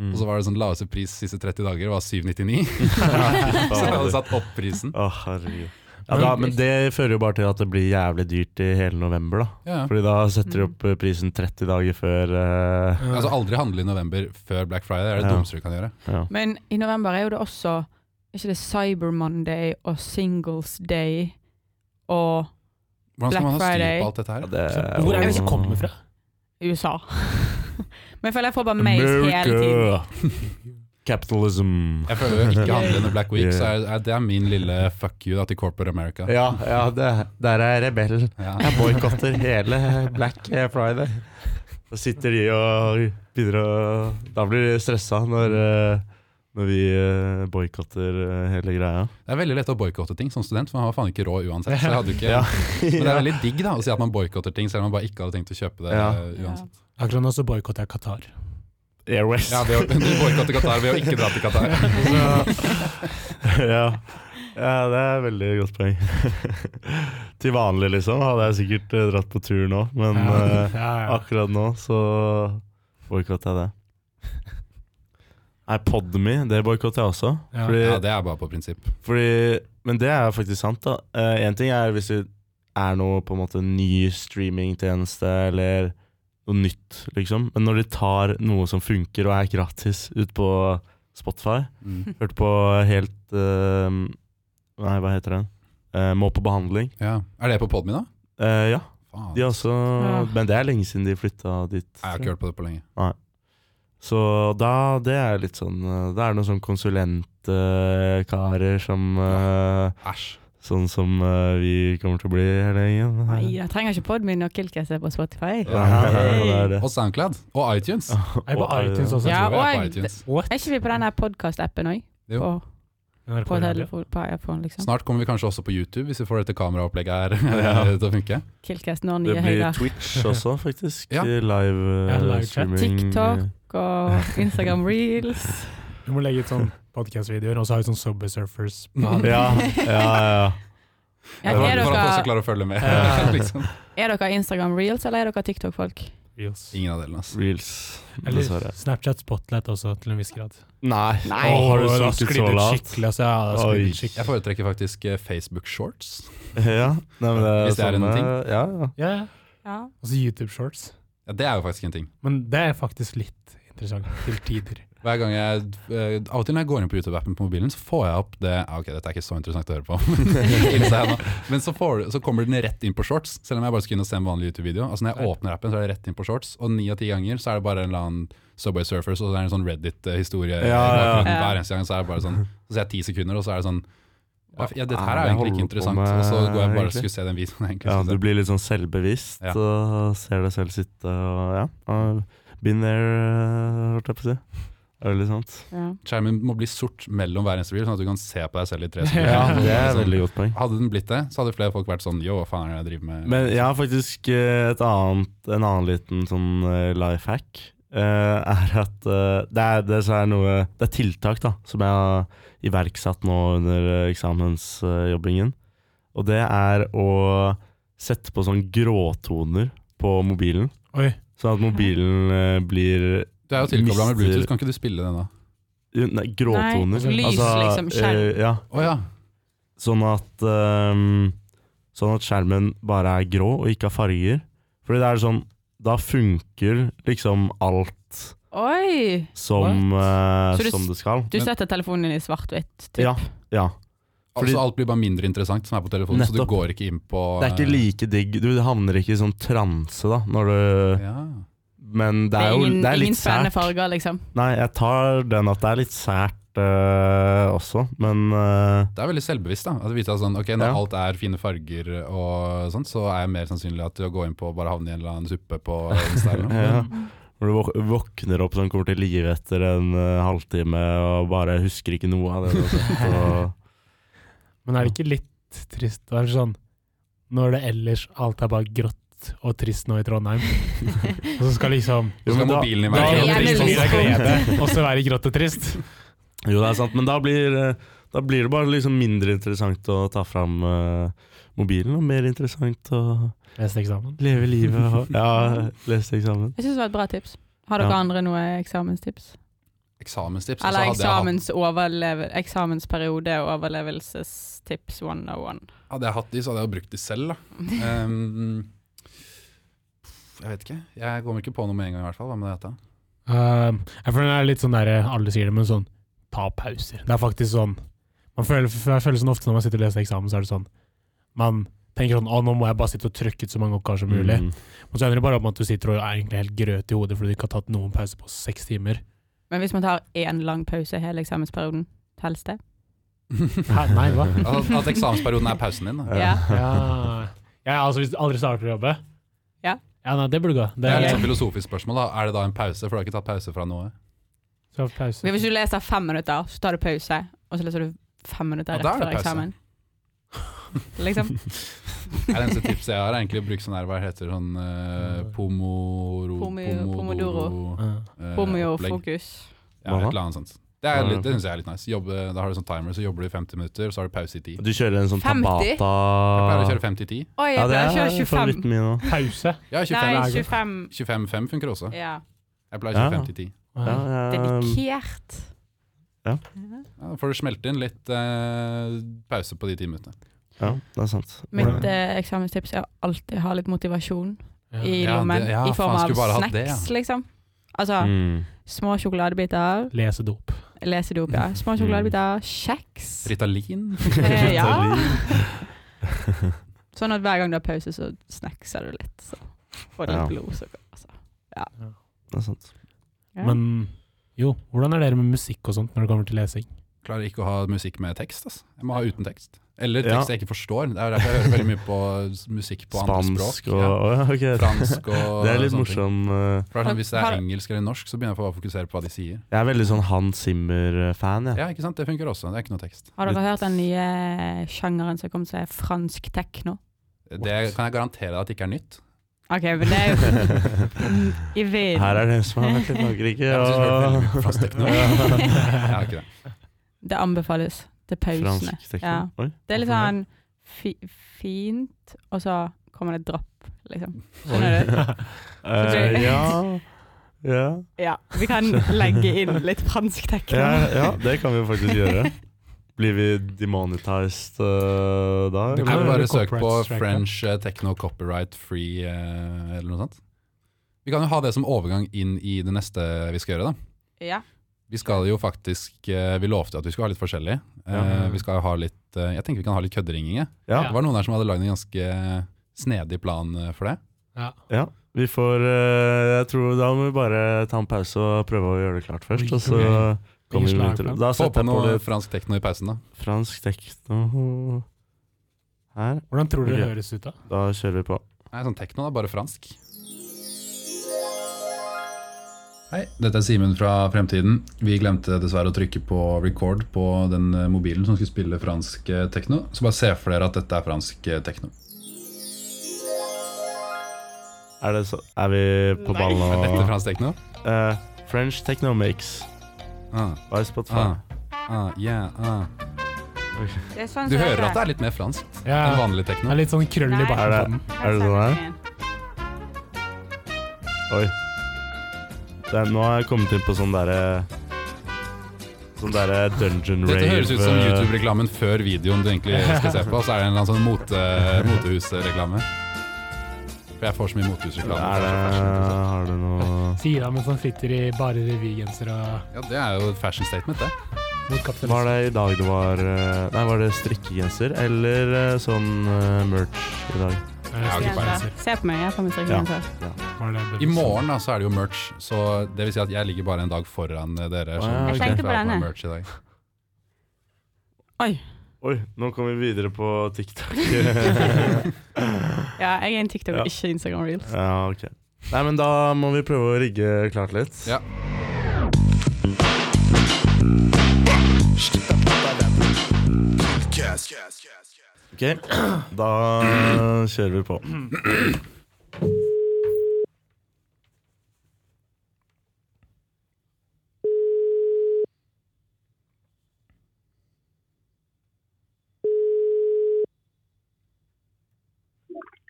Speaker 3: Mm.
Speaker 2: Og så var det sånn laveste pris siste 30 dager var 799. så de hadde satt opp prisen.
Speaker 3: Å, herregud. Ja, da, men det fører jo bare til at det blir jævlig dyrt i hele november, da.
Speaker 2: Ja. ja.
Speaker 3: Fordi da setter
Speaker 1: Mm.
Speaker 3: de opp eh, prisen 30 dager før eh,
Speaker 2: Altså Aldri handle i november før Black Friday. Det er det
Speaker 3: Ja.
Speaker 2: dummeste du kan gjøre.
Speaker 3: ja.
Speaker 4: Men i november er jo det også Er ikke det Cyber Monday og Singles Day og
Speaker 2: Hvordan skal
Speaker 4: Black
Speaker 2: man ha styr
Speaker 4: Friday.
Speaker 2: på alt dette her?
Speaker 3: det
Speaker 1: Så, hvor er det disse kommer fra?
Speaker 4: USA. Men jeg føler jeg får bare mails hele tiden.
Speaker 3: Capitalism.
Speaker 2: Jeg føler jo ikke handle under Black Week,
Speaker 3: Yeah.
Speaker 2: så er, er det er min lille fuck you da, til corporate America.
Speaker 3: Ja, ja det, der er jeg rebell.
Speaker 2: Ja.
Speaker 3: Jeg boikotter hele Black Friday. Da sitter de og begynner å Da blir de stressa når, eh, når vi eh, boikotter eh, hele greia.
Speaker 2: Det er veldig lett å boikotte ting som student, for man har faen ikke råd uansett. Så jeg hadde jo ikke,
Speaker 3: Ja.
Speaker 2: Men det er veldig digg da, å si at man boikotter ting, selv om man bare ikke hadde tenkt å kjøpe det
Speaker 3: Ja.
Speaker 2: eh, uansett.
Speaker 1: Akkurat nå så boikotter jeg Qatar.
Speaker 3: Airways.
Speaker 2: Ja, ved å, du boikotter Qatar ved å ikke dra til Qatar.
Speaker 3: ja. ja, det er veldig godt poeng. Til vanlig, liksom, hadde jeg sikkert eh, dratt på tur nå, men
Speaker 1: Ja,
Speaker 3: eh,
Speaker 1: ja, ja.
Speaker 3: akkurat nå så boikotter jeg det. Nei, Podme, det boikotter jeg også.
Speaker 1: Ja.
Speaker 3: Fordi,
Speaker 2: Ja, det er bare på prinsipp.
Speaker 3: fordi, men det er jo faktisk sant, da. Én ting er hvis det er noe på en måte ny streamingtjeneste eller noe nytt, liksom. Men når de tar noe som funker og er gratis ut på Spotify
Speaker 2: Mm.
Speaker 3: Hørte på helt eh, Nei, hva heter den? Eh, må på behandling.
Speaker 2: Ja. Er det på podmi, da?
Speaker 3: Eh, ja,
Speaker 2: Faen.
Speaker 3: de har også
Speaker 4: Ja.
Speaker 3: Men det er lenge siden de flytta dit.
Speaker 2: Jeg har ikke hørt på det på lenge.
Speaker 3: Så da det er litt sånn eh, Det er noen sånn konsulentkarer som eh,
Speaker 2: Æsj.
Speaker 3: Sånn som eh, vi kommer til å bli hele gjengen.
Speaker 4: Nei, jeg trenger ikke podden min og Killcase på Spotify.
Speaker 3: det er det.
Speaker 2: Og SoundCloud. Og iTunes.
Speaker 1: Er det på
Speaker 3: Og, eh,
Speaker 1: iTunes også?
Speaker 4: Ja,
Speaker 2: Jeg tror vi er
Speaker 4: og-
Speaker 2: på iTunes.
Speaker 1: What?
Speaker 4: Er ikke vi på den podkast-appen òg?
Speaker 2: Jo.
Speaker 4: På,
Speaker 1: NRK
Speaker 4: på,
Speaker 1: Radio.
Speaker 4: telefon, på iPhone, liksom.
Speaker 2: Snart kommer vi kanskje også på YouTube, hvis vi får dette kameraopplegget her eh,
Speaker 3: Ja.
Speaker 2: til å funke.
Speaker 4: Killcast når
Speaker 3: Det
Speaker 4: nye
Speaker 3: blir
Speaker 4: høyder.
Speaker 3: Twitch også, faktisk.
Speaker 2: Ja.
Speaker 3: Live, eh,
Speaker 1: Ja, live chat.
Speaker 3: streaming.
Speaker 4: TikTok. Og Instagram reels.
Speaker 1: Vi må legge ut sånn podcast-videoer, og så har vi sånn Subway Surfers.
Speaker 2: Ja.
Speaker 3: Ja, ja, ja.
Speaker 4: Ja,
Speaker 2: For
Speaker 4: er,
Speaker 2: at folk skal
Speaker 4: dere,
Speaker 2: klare å følge med.
Speaker 1: Ja.
Speaker 2: liksom.
Speaker 4: er dere Instagram reels, eller er dere TikTok-folk?
Speaker 1: Reels.
Speaker 2: Ingen av delene, altså.
Speaker 3: Reels,
Speaker 1: Eller
Speaker 3: dessverre.
Speaker 1: Snapchat Spotlight også, til en viss grad.
Speaker 3: Nei.
Speaker 4: Nei.
Speaker 3: Åh, har du
Speaker 1: Åh, da
Speaker 3: sunket
Speaker 1: sklidde
Speaker 3: så
Speaker 1: ut
Speaker 3: lavt?
Speaker 1: Skikkelig, altså. Ja, da sklidde
Speaker 3: Oi.
Speaker 1: ut skikkelig.
Speaker 2: Jeg foretrekker faktisk eh, Facebook Shorts.
Speaker 3: Ja, nei, men det er
Speaker 2: Hvis det er en
Speaker 3: sånn,
Speaker 2: ting.
Speaker 3: eh, Ja, ja.
Speaker 1: Ja, ja.
Speaker 4: Ja.
Speaker 1: Og så YouTube Shorts.
Speaker 2: Ja, det er jo faktisk en ting.
Speaker 1: Men det er faktisk litt interessant til tider.
Speaker 2: Hver gang jeg, eh, Av og til når jeg går inn på YouTube-appen på mobilen, så får jeg opp det ah, Ok, dette er ikke så interessant å høre på, innser jeg nå. Men så, får, så kommer den rett inn på shorts, selv om jeg bare skal inn og se en vanlig YouTube-video. Altså Når jeg åpner appen, så er det rett inn på shorts, og ni av ti ganger så er det bare en eller annen Subway Surfers, og så er det en sånn Reddit-historie. i
Speaker 3: Ja, ja, ja.
Speaker 2: bakgrunnen. Hver eneste gang så er det bare sånn Så ser jeg ti sekunder, og så er det sånn ja, dette her
Speaker 3: Hva
Speaker 2: er
Speaker 3: er det
Speaker 2: jo egentlig
Speaker 3: jeg
Speaker 2: ikke
Speaker 3: holder på
Speaker 2: interessant,
Speaker 3: med,
Speaker 2: og så går jeg bare og
Speaker 3: egentlig?
Speaker 2: skulle se den videoen. jeg egentlig
Speaker 3: ja,
Speaker 2: skulle
Speaker 3: du
Speaker 2: se.
Speaker 3: blir litt sånn selvbevisst
Speaker 2: Ja.
Speaker 3: og ser deg selv sitte og ja. og Been there, eh, holdt jeg på å si. Er det litt sant?
Speaker 4: Ja.
Speaker 2: Skjermen må bli sort mellom hver eneste bil, sånn at du kan se på deg selv i tre sekunder.
Speaker 3: Ja, det er
Speaker 2: Sånn,
Speaker 3: et veldig godt poeng.
Speaker 2: Hadde den blitt det, så hadde flere folk vært sånn Yo, hva faen er det jeg driver med?
Speaker 3: Men jeg har faktisk eh, et annet, en annen liten sånn life hack. eh, er at eh, det, er, det, så er noe, det er tiltak da som jeg har iverksatt nå under eh, eksamensjobbingen. Og det er å sette på sånn gråtoner på mobilen.
Speaker 1: Oi.
Speaker 3: Sånn at mobilen eh, blir
Speaker 2: Du er jo tilkobla med Bluetooth,
Speaker 3: Mister-
Speaker 2: kan ikke du spille den da?
Speaker 3: Nei, gråtoner. Altså,
Speaker 4: Nei, lys, liksom, skjerm.
Speaker 3: eh, ja.
Speaker 2: Å ja.
Speaker 3: Sånn at ehm, Sånn at skjermen bare er grå og ikke har farger. Fordi det er sånn Da funker liksom alt
Speaker 4: Oi!
Speaker 3: som, eh,
Speaker 4: Så du-
Speaker 3: som det skal.
Speaker 4: Du
Speaker 2: Men-
Speaker 4: setter telefonen din i svart-hvitt. typ.
Speaker 3: Ja, ja. Fordi-
Speaker 2: Altså, alt blir bare mindre interessant som er på telefonen, så du
Speaker 3: Nettopp.
Speaker 2: går ikke inn på eh,
Speaker 3: Det er ikke like digg. Du havner ikke i sånn transe, da, når du
Speaker 2: ja.
Speaker 3: Men det er jo
Speaker 4: ingen,
Speaker 3: det er
Speaker 4: ingen
Speaker 3: litt
Speaker 4: spennende
Speaker 3: sært.
Speaker 4: farger, liksom.
Speaker 3: Nei, jeg tar den at det er litt sært eh, også, men eh,
Speaker 2: Det er veldig selvbevisst. da At du vite at sånn, ok, Når
Speaker 3: Ja.
Speaker 2: alt er fine farger, og sånt, så er jeg mer sannsynlig at å gå inn på og bare havne i en eller annen suppe på Insta. eller noe.
Speaker 3: Ja. Når du våk- våkner opp sånn, kommer til live etter en eh, halvtime og bare husker ikke noe av det du har sett. og-
Speaker 1: Men er det ikke litt trist å være sånn når det ellers alt er bare grått og trist nå i Trondheim, og så skal liksom
Speaker 2: Så skal
Speaker 3: men da- liksom
Speaker 2: mobilen din
Speaker 1: da
Speaker 2: være
Speaker 4: Det
Speaker 1: er
Speaker 4: er
Speaker 1: det trist,
Speaker 4: veldig
Speaker 1: og så er det glede, og så være grått og trist.
Speaker 3: Jo, det er sant, men da blir, eh, da blir det bare liksom mindre interessant å ta fram eh, mobilen, og mer interessant å
Speaker 1: Neste eksamen.
Speaker 3: leve livet og ja, lese eksamen.
Speaker 4: Jeg syns det var et bra tips. Har dere
Speaker 3: Ja.
Speaker 4: andre noe eksamenstips?
Speaker 2: Eksamenstips. så
Speaker 4: Eller
Speaker 2: hadde jeg hatt-
Speaker 4: eksamensoverleve- eksamensperiode og overlevelsestips 101?
Speaker 2: Hadde jeg hatt de, så hadde jeg jo brukt de selv.
Speaker 3: Eh,
Speaker 2: da um, Jeg vet ikke. Jeg kommer ikke på noe med en gang, i hvert fall. Hva med dette?
Speaker 1: Um, jeg føler det er litt sånn der, alle sier det, men sånn ta pauser. Det er faktisk sånn man føler, Jeg føler sånn ofte når man sitter og leser eksamen, så er det sånn Man tenker sånn å, nå må jeg bare sitte og trykke ut så mange oppgaver som mulig.
Speaker 3: Mm.
Speaker 1: Men så ender det bare opp med at du sitter og er egentlig helt grøt i hodet fordi du ikke har tatt noen pause på seks timer.
Speaker 4: Men hvis man tar én lang pause hele eksamensperioden, telles det?
Speaker 1: Hæ? Nei, hva?
Speaker 2: At, at eksamensperioden er pausen din. da
Speaker 4: Ja.
Speaker 1: Ja, ja altså hvis du aldri starter å jobbe?
Speaker 4: Ja.
Speaker 1: Ja, nei, det burde gå.
Speaker 2: Det
Speaker 1: Det
Speaker 2: er
Speaker 1: er
Speaker 2: litt
Speaker 4: Ja.
Speaker 2: sånn filosofisk spørsmål. da Er det da en pause? For du har ikke tatt pause fra noe.
Speaker 1: så pause.
Speaker 4: Men Hvis du leser fem minutter, så tar du pause, og så leser du fem minutter
Speaker 2: Ja,
Speaker 4: rett
Speaker 2: da er det
Speaker 4: før
Speaker 2: pause.
Speaker 4: eksamen. Liksom.
Speaker 2: Det er eneste tipset jeg har, er egentlig å bruke sånn her, hva heter det, sånn eh, pomoro,
Speaker 4: Pomi- pomodoro.
Speaker 1: Ja.
Speaker 2: eh, opplegg.
Speaker 4: Homeofokus.
Speaker 2: Ja, et eller annet sånt. Det, er litt- det syns jeg er litt nice. Jobbe, da har du sånn timer, så jobber du i 50 minutter, så har du pause i 10.
Speaker 3: Du kjører en sånn
Speaker 4: 50?
Speaker 2: Jeg pleier å
Speaker 3: Tabata
Speaker 2: kjøre 50-10.
Speaker 4: Oi, jeg pleier å kjøre 25.
Speaker 3: favoritten min nå.
Speaker 1: Pause.
Speaker 2: Ja,
Speaker 4: Nei,
Speaker 2: 25
Speaker 4: 25.
Speaker 2: 25-5 funker også.
Speaker 4: Ja.
Speaker 2: Jeg pleier å kjøre
Speaker 3: Ja.
Speaker 2: 50-10.
Speaker 3: Ja, um, jeg,
Speaker 4: Dedikert.
Speaker 3: Ja.
Speaker 2: Ja, da får du smelte inn litt eh, pause på de ti minuttene.
Speaker 3: ja, det er sant.
Speaker 4: Mitt eh, eksamenstips er å alltid ha litt motivasjon i
Speaker 2: Ja,
Speaker 4: lommen.
Speaker 2: det- ja,
Speaker 4: I form
Speaker 2: faen,
Speaker 4: av
Speaker 2: skulle bare hatt
Speaker 4: snacks,
Speaker 2: det,
Speaker 4: liksom. Altså
Speaker 3: Mm.
Speaker 4: små sjokoladebiter,
Speaker 1: Lese dop.
Speaker 4: lesedop, ja.
Speaker 2: Mm.
Speaker 4: Små sjokoladebiter, kjeks.
Speaker 2: Ritalin.
Speaker 4: Eh, ja. Sånn at hver gang du har pause, så snackser du litt. Så får du litt
Speaker 3: Ja.
Speaker 4: blodsukker. Altså.
Speaker 3: Det er sant.
Speaker 4: Ja.
Speaker 1: Men jo, hvordan er dere med musikk og sånt når det kommer til lesing?
Speaker 2: Klarer ikke å ha musikk med tekst. Altså. Jeg må ha uten tekst. Eller tekst jeg ikke forstår. Det er jo derfor jeg hører veldig mye på s- musikk på andre
Speaker 3: Spansk
Speaker 2: språk.
Speaker 3: og
Speaker 2: Ja.
Speaker 3: Å, ja, ok.
Speaker 2: Fransk og
Speaker 3: Det er
Speaker 2: sånne
Speaker 3: litt
Speaker 2: ting.
Speaker 3: morsom eh,
Speaker 2: For det er sånn, hvis det
Speaker 4: Har-
Speaker 2: er engelsk eller norsk, så begynner jeg å fokusere på hva de sier.
Speaker 3: Jeg er veldig sånn Han Zimmer-fan, jeg.
Speaker 2: Ja, ikke sant? Det funker også. Det er ikke noe tekst.
Speaker 4: Har dere hørt den nye eh, sjangeren som kom seg fransk tekno?
Speaker 2: Det kan jeg garantere deg at det ikke er nytt.
Speaker 4: OK, men det er jo i vinden.
Speaker 3: Her er det en som har vært i Frankrike.
Speaker 2: Jeg synes det er veldig mye
Speaker 3: Og...
Speaker 2: fransk tekno. Jeg har ikke det.
Speaker 4: Det anbefales til pausene.
Speaker 3: Fransk tekno.
Speaker 4: Ja.
Speaker 3: Oi.
Speaker 4: Det er litt sånn fi fint, og så kommer det et dropp, liksom. Skjønner du?
Speaker 3: Eh, ja. Ja.
Speaker 4: Ja. Vi kan legge inn litt fransk tekno.
Speaker 3: ja. Ja, det kan vi jo faktisk gjøre. Blir vi demonetized eh, da?
Speaker 2: Du
Speaker 3: eller?
Speaker 2: kan
Speaker 1: Eller-
Speaker 2: bare
Speaker 1: eller
Speaker 2: søke på
Speaker 1: copyright strike, ja.
Speaker 2: French eh, techno copyright free eh, eller noe sånt. Vi kan jo ha det som overgang inn i det neste vi skal gjøre, da.
Speaker 4: Ja.
Speaker 2: Vi skal jo faktisk eh, Vi lovte jo at vi skulle ha litt forskjellig. Eh,
Speaker 3: Ja.
Speaker 2: Vi skal jo ha litt eh, Jeg tenker vi kan ha litt kødderinging. jeg.
Speaker 3: Ja.
Speaker 2: Det var noen her som hadde lagd en ganske snedig plan eh, for det.
Speaker 1: Ja.
Speaker 3: Ja, vi får eh, Jeg tror da må vi bare ta en pause og prøve å gjøre det klart først. Og så
Speaker 1: Ok.
Speaker 3: kommer vi
Speaker 1: Ingen
Speaker 3: med
Speaker 1: slagplan.
Speaker 3: intro. Da
Speaker 2: Få
Speaker 3: setter
Speaker 2: på
Speaker 3: jeg på
Speaker 2: noe
Speaker 3: litt
Speaker 2: fransk tekno i pausen, da.
Speaker 3: fransk tekno her.
Speaker 1: Hvordan tror dere det
Speaker 3: Ok.
Speaker 1: høres ut, da?
Speaker 3: Da kjører vi på.
Speaker 2: Nei, sånn tekno, da. Bare fransk. Hei, dette er Simen fra Fremtiden. Vi glemte dessverre å trykke på record på den eh, mobilen som skulle spille fransk eh, tekno. Så bare se for dere at dette er fransk eh, tekno.
Speaker 3: Er, det så, er vi på
Speaker 4: Nei.
Speaker 3: ballen
Speaker 2: Er dette
Speaker 3: nå?
Speaker 2: fransk tekno?
Speaker 3: Eh, French techno mix
Speaker 2: Ah,
Speaker 3: by Spotify.
Speaker 2: ah, ah, yeah, ah.
Speaker 4: Det er sånn
Speaker 2: Du hører at det er litt mer fransk enn
Speaker 1: Ja,
Speaker 2: vanlig
Speaker 1: det
Speaker 2: tekno.
Speaker 1: er litt sånn krøll i
Speaker 4: Nei.
Speaker 1: barten. på
Speaker 3: Er det,
Speaker 1: den.
Speaker 3: er det sånn her? Oi. Det er, nå har jeg kommet inn på sånn derre Sånn derre dungeon rave
Speaker 2: Dette høres ut som
Speaker 3: eh,
Speaker 2: YouTube-reklamen før videoen du egentlig skal se på. Så er det en eller annen sånn mote, motehusreklame. For jeg får så mye motehusreklame.
Speaker 3: Er det,
Speaker 2: liksom.
Speaker 3: har du noe
Speaker 1: Sier han mens han sitter i bare revygenser og
Speaker 2: Ja, det er jo et fashion statement, det.
Speaker 1: mot
Speaker 3: Var
Speaker 1: kapitalisme.
Speaker 3: det i dag det var eh, Nei, var det strikkegenser eller eh, sånn eh, merch i dag?
Speaker 1: Nei,
Speaker 2: Ja, ok, bare
Speaker 1: strikkegenser.
Speaker 4: Se på meg, jeg har på meg strikkegenser.
Speaker 1: Var det det
Speaker 2: I
Speaker 1: du sa?
Speaker 2: morgen da, så er det jo merch, så det vil si at jeg ligger bare en dag foran eh, dere.
Speaker 3: Å,
Speaker 2: som
Speaker 3: ja, ok. Jeg
Speaker 4: tenkte på
Speaker 2: skal ha
Speaker 4: denne.
Speaker 2: merch i dag.
Speaker 3: Oi, nå kom vi videre på TikTok.
Speaker 4: Ja. jeg er en TikTok,
Speaker 3: Ja.
Speaker 4: ikke Instagram Reels.
Speaker 3: ja, ok. Nei, men da må vi prøve å rigge klart litt.
Speaker 2: Ja.
Speaker 3: Ok, da kjører vi på.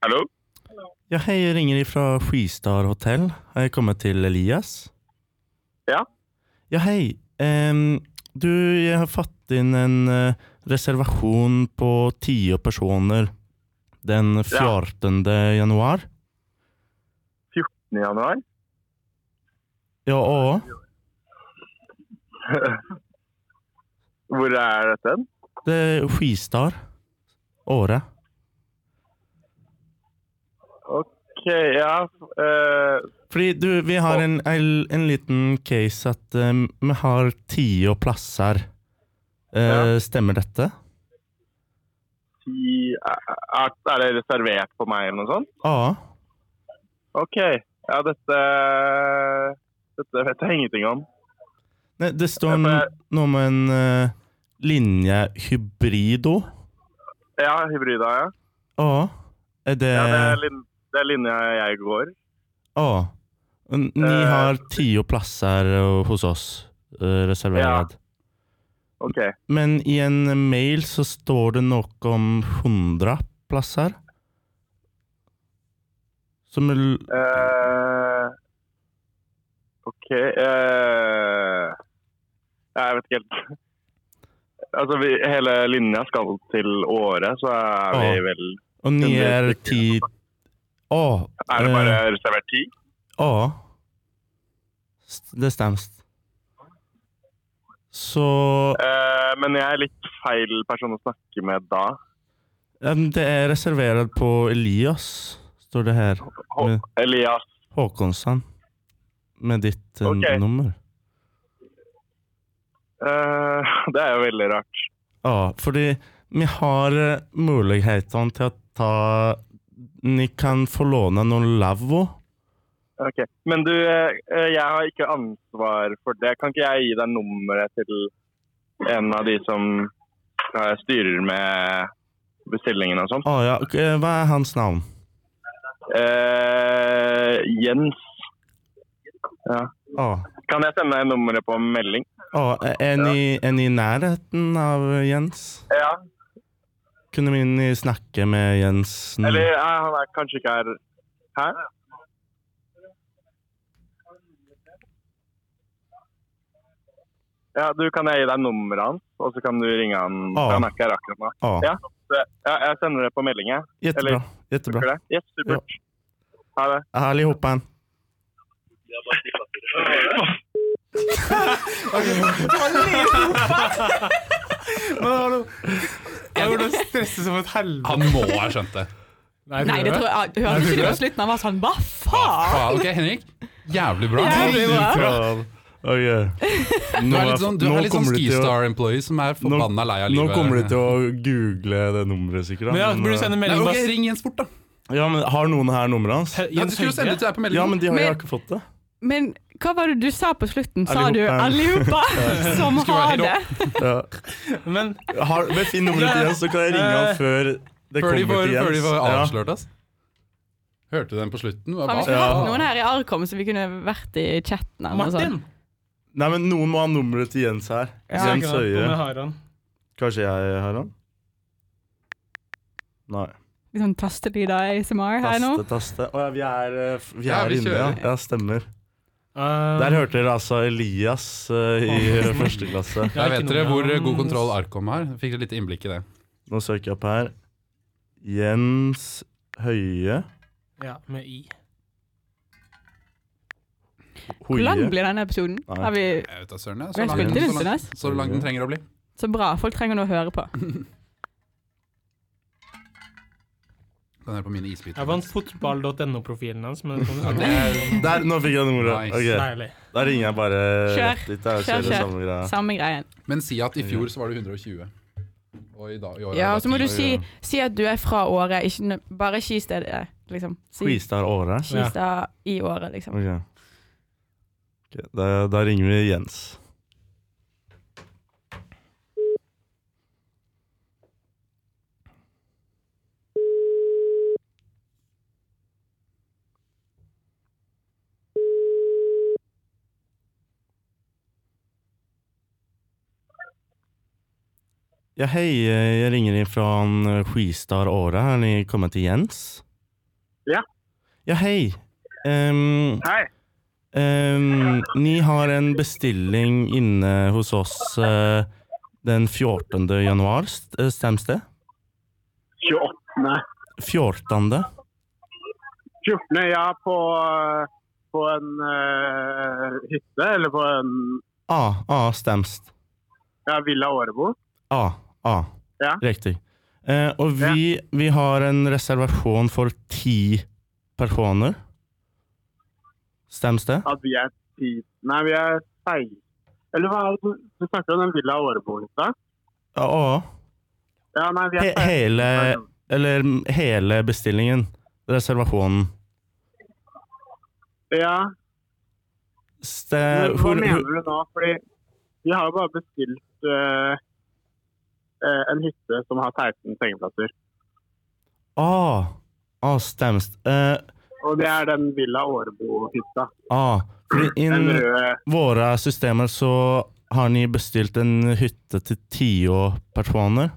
Speaker 5: Hallo?
Speaker 3: Ja, hei, jeg ringer fra Freestar Hotel. Har jeg kommet til Elias?
Speaker 5: Ja.
Speaker 3: Ja, hei. Em, du, jeg har fått inn en eh, reservasjon på 10 personer den 14. januar.
Speaker 5: 9. januar?
Speaker 3: Ja, og
Speaker 5: Hvor er dette?
Speaker 3: det er Freestar. Åre.
Speaker 5: Ok, ja. eh,
Speaker 3: Fordi du, vi har en, en, en liten case at em, vi har 10 plasser. Eh,
Speaker 5: Ja.
Speaker 3: Stemmer dette?
Speaker 5: ti- eh, er, er det reservert for meg eller noe sånt?
Speaker 3: Ja.
Speaker 5: Ok, ja, dette, dette vet jeg ingenting om.
Speaker 3: Nei, det står
Speaker 5: Ja, for-
Speaker 3: n- noe med en eh, linje hybrido.
Speaker 5: Ja, hybrida, ja.
Speaker 3: Ja. Er det
Speaker 5: ja det,
Speaker 3: Ja.
Speaker 5: er lin, det er linja jeg går.
Speaker 3: N- Ni
Speaker 5: Eh,
Speaker 3: har ti plasser eh, hos oss eh, reservert.
Speaker 5: Ok,
Speaker 3: Men i en mail så står det noe om 100 plasser. Som er l-
Speaker 5: eh, ok, eh, ja, jeg vet ikke helt. Altså, vi, hele linja skal til året, så er vi
Speaker 3: Ja.
Speaker 5: vel...
Speaker 3: Og ni
Speaker 5: det
Speaker 3: er
Speaker 5: er ikke-
Speaker 3: ti Å.
Speaker 5: Er
Speaker 3: Eh.
Speaker 5: det bare reservert ti?
Speaker 3: Ja. S- Det stemmer. Så
Speaker 5: Eh, men jeg er litt feil person å snakke med da.
Speaker 3: Em, Det er reservert på Elias, står det her.
Speaker 5: Hå
Speaker 3: Men-
Speaker 5: Elias.
Speaker 3: Håkonsson. Med ditt eh,
Speaker 5: Ok.
Speaker 3: nummer.
Speaker 5: Eh, det er jo veldig rart.
Speaker 3: Ja, fordi Vi har eh, mulighetene til å ta Ni kan få låne noen lavvo.
Speaker 5: Ok, Men du, eh, jeg har ikke ansvar for det. Kan ikke jeg gi deg nummeret til en av de som eh, styrer med bestillingen og sånn?
Speaker 3: Å ja, ok, hva er hans navn?
Speaker 5: Eh, Jens,
Speaker 3: Å,
Speaker 5: kan jeg sende deg nummeret på melding?
Speaker 3: å, er, ni, er ni i nærheten av Jens?
Speaker 5: Ja.
Speaker 3: Kunne vi ni snakke med Jens nå?
Speaker 5: Eller eh, han er kanskje ikke her. Hæ? Ja, du, Kan jeg gi deg nummeret hans, og så kan du ringe han?
Speaker 3: Ah.
Speaker 5: Han er ikke her akkurat nå.
Speaker 3: Å,
Speaker 5: Ja. Så, ja, jeg sender det på melding, jeg.
Speaker 3: jättebra.
Speaker 5: eller-
Speaker 3: Jättebra.
Speaker 5: Funker det? Yes, supert. Ha det.
Speaker 3: Allihopa.
Speaker 1: Men hallo Jeg burde stresse som et helvete.
Speaker 2: Han må ha skjønt det.
Speaker 4: Nei, det tror jeg, jeg hørte ikke det på slutten. Han var sånn Hva faen?
Speaker 2: Faen, ok, Henrik. Jævlig bra.
Speaker 4: Jævlig bra.
Speaker 3: Oi, eh.
Speaker 2: Du
Speaker 3: Nå,
Speaker 2: er litt sånn, du er litt sånn
Speaker 3: kommer de til å-
Speaker 2: Skistar-employee som er
Speaker 3: nå,
Speaker 2: forbanna lei av
Speaker 3: nå
Speaker 2: livet.
Speaker 3: kommer de til å google det nummeret, sikkert. da,
Speaker 1: Men ja, burde du sende
Speaker 2: Nei,
Speaker 3: eh,
Speaker 1: melding
Speaker 2: ok,
Speaker 1: bare
Speaker 2: Ring Jens fort, da.
Speaker 3: ja, men Har noen her nummeret hans?
Speaker 2: Ja, du
Speaker 1: Jens
Speaker 2: skulle jo sende
Speaker 1: Høie?
Speaker 2: det til deg på melding.
Speaker 3: Ja, men de har jo
Speaker 4: Men-
Speaker 3: ikke fått det.
Speaker 4: Men hva var det du sa på slutten? Sa du
Speaker 3: Allihopa.
Speaker 4: 'allihopa som
Speaker 2: Skulle være
Speaker 4: har
Speaker 2: helt
Speaker 4: det'?
Speaker 3: Ja.
Speaker 1: Men
Speaker 3: Har, men finn nummeret til Jens, så kan jeg ringe han
Speaker 1: Eh,
Speaker 3: før det
Speaker 2: Før
Speaker 3: kommer
Speaker 2: de får,
Speaker 3: til Jens.
Speaker 2: før de får
Speaker 3: Ja.
Speaker 2: avslørt oss. Hørte du den på slutten? Hva-
Speaker 4: Faen,
Speaker 2: hva-
Speaker 4: vi skulle hatt
Speaker 2: Ja.
Speaker 4: noen her i Arkom, så vi kunne vært i chatten. Eller noe
Speaker 1: Martin
Speaker 4: sånt.
Speaker 3: Nei, men Noen må ha nummeret til Jens her.
Speaker 4: Ja.
Speaker 3: Jens
Speaker 1: Om jeg
Speaker 3: Høie.
Speaker 1: har han.
Speaker 3: Kanskje jeg har han? Nei.
Speaker 4: Litt sånn tastelyder ASMR her nå.
Speaker 3: Taste, taste. Å ja, vi er, eh, f- vi
Speaker 2: Ja,
Speaker 3: er
Speaker 2: vi
Speaker 3: inne, ja.
Speaker 2: kjører.
Speaker 3: ja. Stemmer.
Speaker 1: Eh,
Speaker 3: Der hørte dere altså Elias eh, i eh, første klasse.
Speaker 1: jeg har
Speaker 2: Der
Speaker 1: ikke
Speaker 2: vet dere
Speaker 1: nummeret
Speaker 2: hvor
Speaker 1: hans.
Speaker 2: god kontroll Arkom har. Fikk dere litt innblikk i det.
Speaker 3: Nå søker jeg opp her. Jens Høie.
Speaker 1: Ja, med I.
Speaker 4: Hvor lang
Speaker 3: Hoie.
Speaker 4: blir denne episoden?
Speaker 3: Nei.
Speaker 4: Har vi,
Speaker 2: Jeg vet da søren, jeg.
Speaker 4: vi
Speaker 2: Så
Speaker 4: har
Speaker 2: lang,
Speaker 4: spilt
Speaker 2: så,
Speaker 4: inn en
Speaker 2: lang,
Speaker 4: stund, ass.
Speaker 2: så lang
Speaker 3: Mm.
Speaker 2: den trenger å bli.
Speaker 4: Så bra. Folk trenger noe å høre på.
Speaker 2: Den er på mine
Speaker 1: Jeg
Speaker 2: isbiter.
Speaker 1: vant fotball.no-profilen hans, men det kommer sånn.
Speaker 3: Der, nå fikk jeg nummeret.
Speaker 2: Nice.
Speaker 3: Ok,
Speaker 1: Deilig.
Speaker 3: Da ringer jeg bare
Speaker 4: Kjør.
Speaker 3: rett dit. da, og
Speaker 4: Kjør,
Speaker 3: Kjører
Speaker 4: kjør.
Speaker 3: samme greia.
Speaker 4: Samme greien.
Speaker 2: Men si at i fjor så var det 120. Og i dag, i år er
Speaker 4: Ja,
Speaker 2: det
Speaker 4: og så må du
Speaker 2: 10.
Speaker 4: si, si at du er fra Åre, ikke nø- bare skistedet, liksom. Si
Speaker 3: Skistar Åre.
Speaker 4: Skistad i Åre, liksom.
Speaker 3: Ok. Ok, Da, da ringer vi Jens. Ja, hei. eh, Jeg ringer ifra en, eh, Skistar Åre. Har ni kommet til Jens?
Speaker 5: Ja.
Speaker 3: Ja, hei. Ehm,
Speaker 5: Hei.
Speaker 3: Ehm, ni har en bestilling inne hos oss eh, den 14. januar, st- eh, stemmer det?
Speaker 5: 28.
Speaker 3: 14.
Speaker 5: 14. Ja, på, på en eh, hytte, eller på en
Speaker 3: A, A, stemmer det.
Speaker 5: ja, Villa Årebo.
Speaker 3: A, A.
Speaker 5: Ja.
Speaker 3: Riktig. Eh, og vi, vi har en reservasjon for ti personer. Stemmer det?
Speaker 5: At vi er 10 Nei, vi er 16. Eller hva er det du- du snakker om? Den Villa Årebo-hytta?
Speaker 3: Ja, A.
Speaker 5: Ja, nei, vi
Speaker 3: He
Speaker 5: er 16.
Speaker 3: hele, eh, eller mm, hele bestillingen. Reservasjonen.
Speaker 5: Ja,
Speaker 3: Ste,
Speaker 5: men hva
Speaker 3: hvor,
Speaker 5: mener
Speaker 3: hvor,
Speaker 5: du nå? Fordi vi har jo bare bestilt eh, eh, en hytte som har 16 sengeplasser.
Speaker 3: A, A, stemmer det. Eh,
Speaker 5: Og det er den Villa Årebo-hytta.
Speaker 3: Ah, fordi
Speaker 5: Den
Speaker 3: inn
Speaker 5: røde
Speaker 3: våre systemer så har ni bestilt en hytte til tio personer.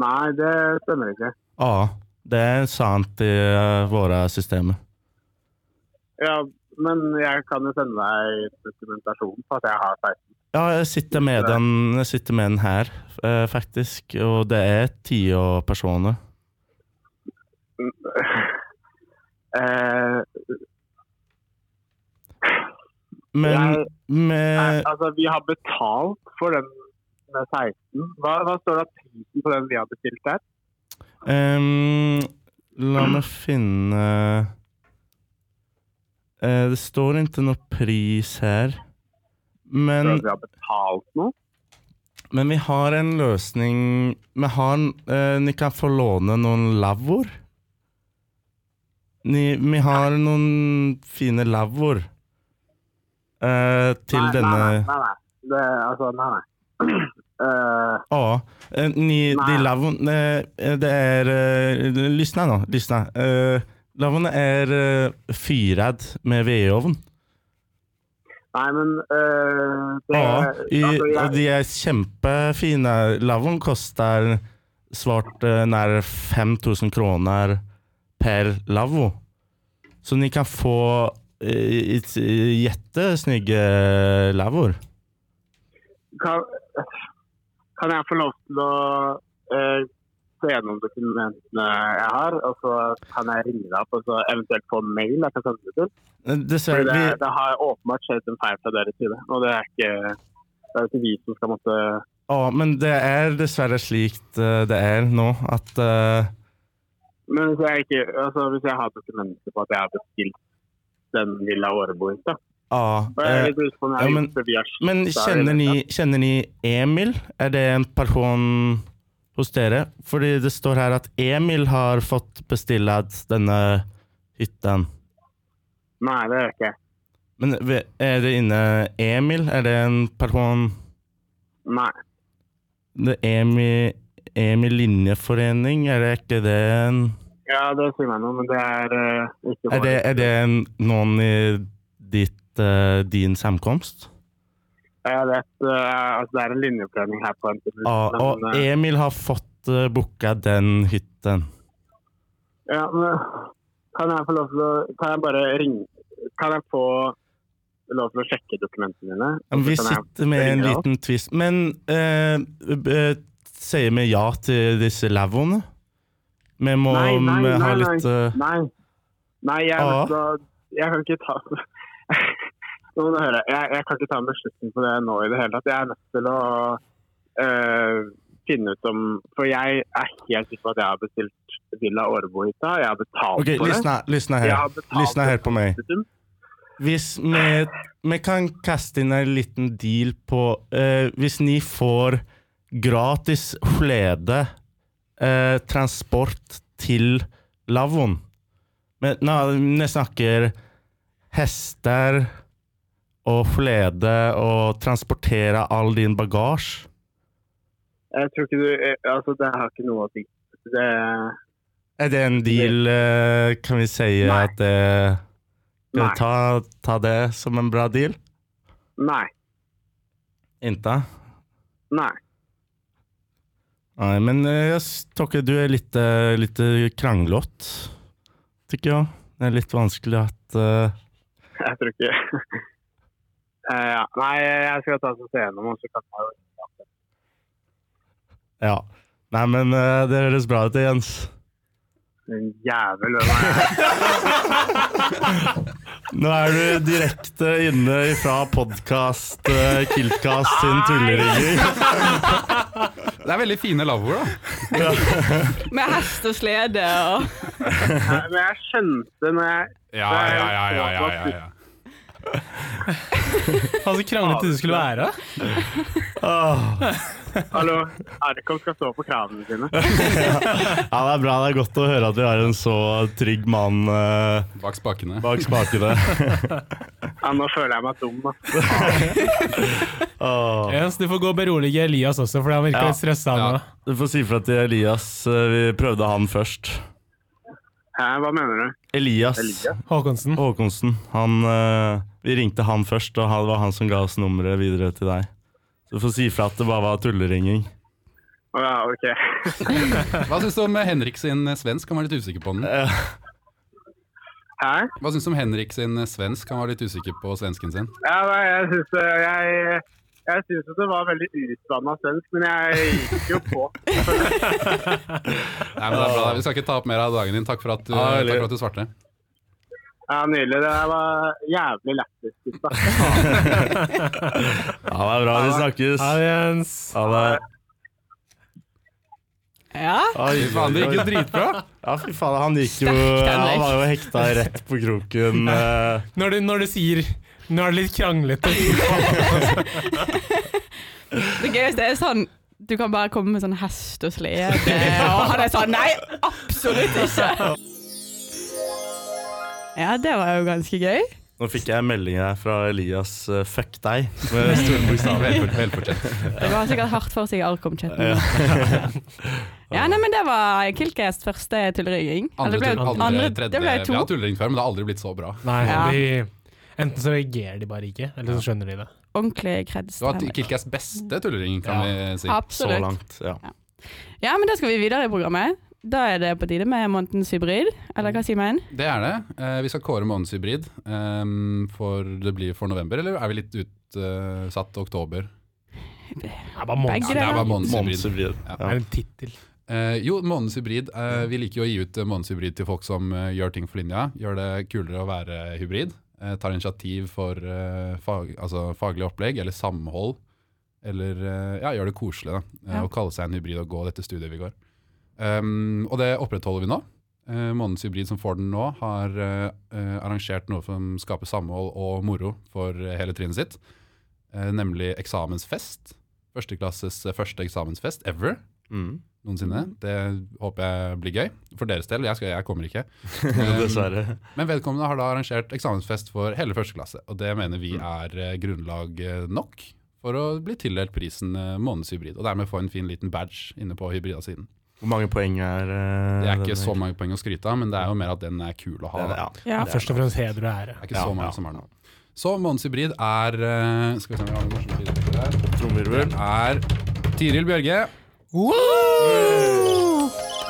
Speaker 5: Nei, det stemmer ikke.
Speaker 3: Ja, ah, det er sant i eh, våre systemer.
Speaker 5: Ja, men jeg kan jo sende deg dokumentasjon på at jeg har 16.
Speaker 3: Ja, jeg sitter med den, jeg sitter med den her, eh, faktisk. Og det er tio personer.
Speaker 5: Eh,
Speaker 3: Men
Speaker 5: Jeg-
Speaker 3: med
Speaker 5: altså, vi har betalt for den med 16. Hva, hva står det av prisen på den vi har bestilt der?
Speaker 3: ehm, La meg finne eh, Det står ikke noe pris her.
Speaker 5: Tror du
Speaker 3: Men
Speaker 5: at vi har betalt noe?
Speaker 3: Men vi har en løsning Vi har eh, Ni kan få låne noen lavvoer. Ni, vi har noen fine lavvoer eh, til
Speaker 5: nei,
Speaker 3: denne
Speaker 5: Nei, nei, nei. nei. Det, altså, nei, nei. Eh,
Speaker 3: Ja, eh, ni,
Speaker 5: Nej.
Speaker 3: de lavon, eh, det är, eh, lyssna då, lyssna. Eh, lavon är eh, fyrad med vedovn.
Speaker 5: nei, men eh, det,
Speaker 3: Ja, i,
Speaker 5: altså, jeg-
Speaker 3: och de är kämpefina. Lavon kostar svart eh, när 5000 kronor per lavvo. Så ni kan få eh, ett, eh, jättesnygga lavvor.
Speaker 5: kan, kan jeg få lov til å eh, se gjennom dokumentene jeg har, og så kan jeg ringe deg opp og så eventuelt få en mail jeg kan sende det til?
Speaker 3: Eh,
Speaker 5: Fordi
Speaker 3: Dessverre,
Speaker 5: det,
Speaker 3: vi,
Speaker 5: det har åpenbart skjedd en feil fra deres side, og det er ikke, det er ikke vi som skal måtte
Speaker 3: ja, men det är dessvärre slikt eh, det är nu. Att, eh,
Speaker 5: Men hvis jeg, ikke, altså, hvis jeg har dokumenter på at jeg har bestilt den lilla åreboen, da
Speaker 3: ja,
Speaker 5: og jeg
Speaker 3: eh,
Speaker 5: er litt usikker på om jeg har
Speaker 3: ja, men-
Speaker 5: gjort det via Skipper
Speaker 3: Men
Speaker 5: eller
Speaker 3: kjenner ni,
Speaker 5: noe.
Speaker 3: kjenner ni Emil? Er det en person hos dere? Fordi det står her at Emil har fått bestilt denne hytten.
Speaker 5: Nei, det gjør jeg ikke.
Speaker 3: Men ve- er det inne Emil? Er det en person
Speaker 5: Nei.
Speaker 3: Det er Emil, Emil Linjeforening, er det ikke det en
Speaker 5: Ja, det sier meg noe, men det er eh, ikke
Speaker 3: Er det, er det en, noen i ditt, eh, din samkomst?
Speaker 5: Jeg vet eh, altså, det er en linjeforening her på NTNU.
Speaker 3: Ja, og
Speaker 5: men, eh,
Speaker 3: Emil har fått uh, booka den hytten.
Speaker 5: ja, men, kan jeg få lov til å Kan jeg bare ringe Kan jeg få lov til å sjekke dokumentene dine?
Speaker 3: Ja, men Vi
Speaker 5: Så kan jeg-
Speaker 3: sitter med en
Speaker 5: ringer, da.
Speaker 3: liten twist. Men eh, eh, sier vi ja til disse lavvoene? Vi må
Speaker 5: Nei, nei,
Speaker 3: vi ha
Speaker 5: nei,
Speaker 3: litt eh,
Speaker 5: Nei. Nei, jeg,
Speaker 3: Ja.
Speaker 5: vet, da- jeg kan ikke ta Nå må du høre. Jeg, jeg kan ikke ta en beslutning på det nå i det hele tatt. Jeg er nødt til å eh, finne ut om For jeg er helt sikker på at jeg har bestilt Villa Årebohytta. Jeg har betalt
Speaker 3: Ok,
Speaker 5: for
Speaker 3: lysna, lysna
Speaker 5: det. Jeg
Speaker 3: her.
Speaker 5: har betalt
Speaker 3: Lyssna her
Speaker 5: for
Speaker 3: på meg.
Speaker 5: det.
Speaker 3: Hvis vi, vi kan kaste inn en liten deal på eh, Hvis ni får gratis slede, eh, transport til lavvoen Men nå, vi snakker hester og slede og transportere all din bagasje.
Speaker 5: Jeg tror ikke du eh, Altså, det har ikke noe å si. Det,
Speaker 3: Er det en deal eh, Kan vi si
Speaker 5: Nei.
Speaker 3: at det Skal
Speaker 5: Nei.
Speaker 3: vi ta, ta det som en bra deal?
Speaker 5: nei.
Speaker 3: Inte?
Speaker 5: Nei.
Speaker 3: Nei, men eh, jeg tykker du er litt, eh, litt kranglått, tykker jeg. Det er litt vanskelig at eh,
Speaker 5: Jeg tror ikke Eh, ja. Nei, jeg skal ta og se gjennom, og så kan jeg jo
Speaker 3: Ja. Nei, men eh, det høres bra ut, Jens.
Speaker 5: En jævel hvem er jeg?
Speaker 3: Nå er du direkte inne fra podkast uh, Kiltcast sin tullerigging.
Speaker 2: Det er veldig fine lavvoer, da.
Speaker 4: Med hest og slede og
Speaker 5: Nei, Men jeg skjønte når jeg
Speaker 2: Ja, ja, ja. ja, ja, ja, ja.
Speaker 1: Han som kranglet til det Altså, skulle være.
Speaker 3: Åh.
Speaker 5: Hallo, Arkom skal stå på kravene sine.
Speaker 3: Ja, det er bra. Det er godt å høre at vi har en så trygg mann eh,
Speaker 2: Bak spakene.
Speaker 3: bak spakene.
Speaker 5: Ja, nå føler jeg meg dum. ass.
Speaker 3: Åh.
Speaker 1: Jens, du får gå og berolige Elias også, for han virker
Speaker 3: Ja.
Speaker 1: litt stressa
Speaker 2: Ja.
Speaker 1: nå.
Speaker 3: Du får si fra til Elias. eh, Vi prøvde han først.
Speaker 5: Hæ, hva mener du?
Speaker 3: Elias,
Speaker 5: Elias?
Speaker 1: Håkonsen.
Speaker 3: Håkonsen. Han, eh, vi ringte han først, og han- det var han som ga oss nummeret videre til deg. Så du får si fra at det bare var tulleringing.
Speaker 5: Å ja, ok.
Speaker 2: Hva syns du om Henrik sin eh, svensk? Han var litt usikker på den.
Speaker 5: Hæ?
Speaker 2: Hva syns du om Henrik sin eh, svensk? Han var litt usikker på svensken sin.
Speaker 5: Ja, nei, jeg syns eh, jeg, jeg synes at det var veldig utvanna svensk, men jeg gikk jo på.
Speaker 2: Nei, men det er bra. Vi skal ikke ta opp mer av dagen din. Takk for at du,
Speaker 3: Ja,
Speaker 2: takk
Speaker 3: eller-
Speaker 2: for at du svarte.
Speaker 5: Ja, Nydelig. Det var jævlig lættis, gutta.
Speaker 3: Ja, det er bra. Vi
Speaker 1: Ja,
Speaker 3: snakkes.
Speaker 1: Jens.
Speaker 3: Ha det.
Speaker 4: Ja.
Speaker 3: Oi,
Speaker 2: Fy faen, det gikk jo
Speaker 3: oi, oi.
Speaker 2: dritbra.
Speaker 3: Ja, fy faen. Han gikk jo
Speaker 4: Sterkt,
Speaker 3: Han
Speaker 4: Henrik.
Speaker 3: var jo hekta rett på kroken. eh.
Speaker 1: Når du, når du sier nå er det litt kranglete.
Speaker 4: Det gøyeste er sånn Du kan bare komme med sånn hest og slede, og han er sånn Nei, absolutt ikke! Ja, det var jo ganske gøy.
Speaker 3: Nå fikk jeg melding her fra Elias eh, 'fuck deg' med store bokstaver.
Speaker 2: Velfor- Velfortjent.
Speaker 4: Det var sikkert hardt for seg i Alcom-chatten.
Speaker 3: Ja.
Speaker 4: Ja, nei, men det var Kilkes første tullering. Eller
Speaker 2: Andre,
Speaker 4: det ble-
Speaker 2: tull- andre,
Speaker 4: andre-
Speaker 2: tredje
Speaker 4: Det ble
Speaker 2: Vi har
Speaker 4: to.
Speaker 2: hatt tullering før, men det har aldri blitt så bra.
Speaker 1: Nei,
Speaker 4: Ja.
Speaker 1: de, enten så reagerer de bare ikke, eller så skjønner de det.
Speaker 4: Ordentlig kreds.
Speaker 2: Det var Kilkas beste tullering, kan vi si.
Speaker 3: Så
Speaker 4: Absolutt.
Speaker 3: langt, ja.
Speaker 4: Ja, men da skal vi videre i programmet. Da er det på tide med månedens hybrid. Eller hva sier man?
Speaker 2: Det er det. Eh, vi skal kåre månedens hybrid ehm, for det blir for november, eller er vi litt utsatt eh, oktober?
Speaker 1: Det er bare
Speaker 4: Begge
Speaker 1: monster.
Speaker 2: Det er bare månedens hybrid.
Speaker 3: Månedshybrid.
Speaker 1: Det er en tittel.
Speaker 2: Eh, jo, månedens hybrid. Eh, vi liker jo å gi ut eh, månedens hybrid til folk som eh, gjør ting for linja. Gjør det kulere å være hybrid. Eh, tar initiativ for eh, fag, altså faglig opplegg eller samhold. Eller eh, ja, gjør det koselig da. Eh,
Speaker 4: Ja.
Speaker 2: å kalle seg en hybrid og gå dette studiet vi går. Um, og det opprettholder vi nå. Eh, månedens hybrid som får den nå, har eh, eh, arrangert noe som skaper samhold og moro for eh, hele trinnet sitt. Eh, nemlig eksamensfest. Førsteklasses eh, første eksamensfest ever
Speaker 3: Mm.
Speaker 2: noensinne. Det håper jeg blir gøy. For deres del, jeg, skal, jeg kommer ikke.
Speaker 3: Dessverre.
Speaker 2: Men vedkommende har da arrangert eksamensfest for hele første klasse. Og det mener vi er eh, grunnlag eh, nok for å bli tildelt prisen eh, månedens hybrid. Og dermed få en fin liten badge inne på hybrida-siden.
Speaker 3: Hvor mange poeng er eh,
Speaker 2: Det er ikke
Speaker 3: denne?
Speaker 2: så mange poeng å skryte av, men det er jo mer at den er kul å ha.
Speaker 3: Den-
Speaker 2: Da.
Speaker 3: ja.
Speaker 1: Ja, først og fremst heder og ære.
Speaker 2: Det er ikke
Speaker 3: Ja,
Speaker 2: så mange
Speaker 3: ja.
Speaker 2: som har den. Så månedens hybrid er eh, Skal vi se om vi har noen morsomme bilder her.
Speaker 3: Trommevirvel.
Speaker 2: Det er Tiril Bjørge.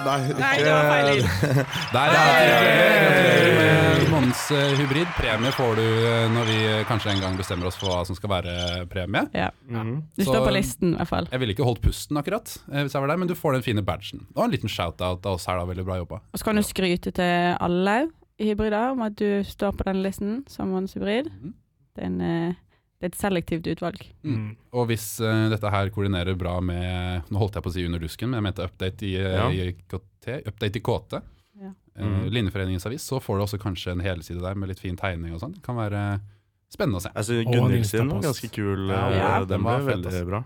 Speaker 3: Nei,
Speaker 4: Nei, det var feil lyd.
Speaker 2: Der er Gratulerer med månedens eh, hybrid. Premie får du eh, når vi eh, kanskje en gang bestemmer oss for hva som skal være premie.
Speaker 4: Ja.
Speaker 3: Mhm.
Speaker 4: Du står
Speaker 2: Så-
Speaker 4: på listen, i hvert fall.
Speaker 2: Jeg ville ikke holdt pusten akkurat, eh, hvis jeg var der, men du får den fine badgen. Og en liten shout-out av oss her, da. Veldig bra jobba.
Speaker 4: Og så kan du skryte til alle i hybrider om at du står på den listen som månedens hybrid.
Speaker 2: Mhm.
Speaker 4: Det er, en, eh, det er et selektivt utvalg.
Speaker 1: Mm.
Speaker 2: Og hvis eh, dette her koordinerer bra med Nå holdt jeg på å si Under dusken, men jeg mente Update i, eh,
Speaker 3: Ja.
Speaker 2: i KT. Update i KT.
Speaker 4: Ja.
Speaker 2: eh,
Speaker 3: Mhm.
Speaker 2: Linjeforeningens avis. Så får du også kanskje en helside der med litt fin tegning og sånn. Det Kan være spennende å se.
Speaker 3: Altså,
Speaker 1: Og en
Speaker 3: Gunhild sin var
Speaker 1: Insta-post.
Speaker 3: ganske kul.
Speaker 2: Ja,
Speaker 3: eh,
Speaker 2: ja.
Speaker 3: den var
Speaker 2: fet,
Speaker 3: veldig
Speaker 2: ass.
Speaker 3: bra.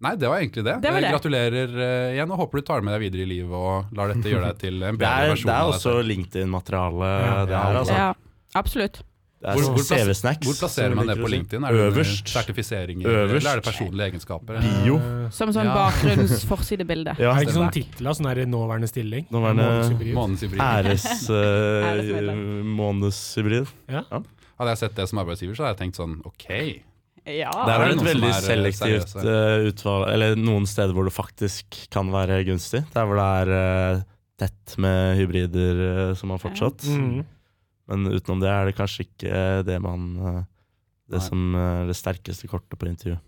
Speaker 2: Nei, det var egentlig det.
Speaker 4: Det var
Speaker 2: Eh,
Speaker 4: det.
Speaker 2: Gratulerer eh, igjen, og håper du tar med deg videre i livet og lar dette gjøre deg til en
Speaker 3: Det
Speaker 2: bedre
Speaker 3: er,
Speaker 2: versjon. altså.
Speaker 3: det er
Speaker 2: av deg
Speaker 3: også
Speaker 2: selv.
Speaker 3: LinkedIn-materiale,
Speaker 1: Ja,
Speaker 3: det
Speaker 1: ja.
Speaker 3: her, altså.
Speaker 4: Ja, absolutt.
Speaker 3: Det er
Speaker 2: Hvor-
Speaker 3: sånn
Speaker 2: hvor plasser-
Speaker 3: CV-snacks.
Speaker 2: Hvor plasserer
Speaker 3: som
Speaker 2: man det
Speaker 3: liker
Speaker 2: på
Speaker 3: å si.
Speaker 2: LinkedIn? Er det eh, under
Speaker 3: Øverst.
Speaker 2: sertifiseringer,
Speaker 3: Øverst.
Speaker 2: eller er det personlige
Speaker 1: Mm.
Speaker 2: egenskaper?
Speaker 3: Bio.
Speaker 4: Som sånn
Speaker 2: Ja.
Speaker 4: bakgrunnsforsidebilde.
Speaker 3: Ja,
Speaker 1: Er det Eh, ikke sånn tittel av sånn der nåværende stilling?
Speaker 3: Nåværende-
Speaker 1: Månedens hybrid.
Speaker 2: Månedens hybrid.
Speaker 3: æres... eh,
Speaker 4: Æresmedlem.
Speaker 3: Månedshybrid.
Speaker 2: Hadde jeg sett det som arbeidsgiver, så hadde jeg tenkt sånn ok.
Speaker 3: Det
Speaker 4: Ja.
Speaker 3: er
Speaker 2: er
Speaker 3: vel
Speaker 2: noen
Speaker 3: et
Speaker 2: som
Speaker 3: veldig
Speaker 2: er, eh,
Speaker 3: selektivt eh, utvalg, eller noen steder hvor det faktisk kan være gunstig. Der hvor det er eh, tett med hybrider eh, som har fortsatt.
Speaker 1: Mm.
Speaker 3: Men utenom det er det kanskje ikke eh, det man eh,
Speaker 2: Nei.
Speaker 3: Det som eh, det sterkeste kortet på intervju.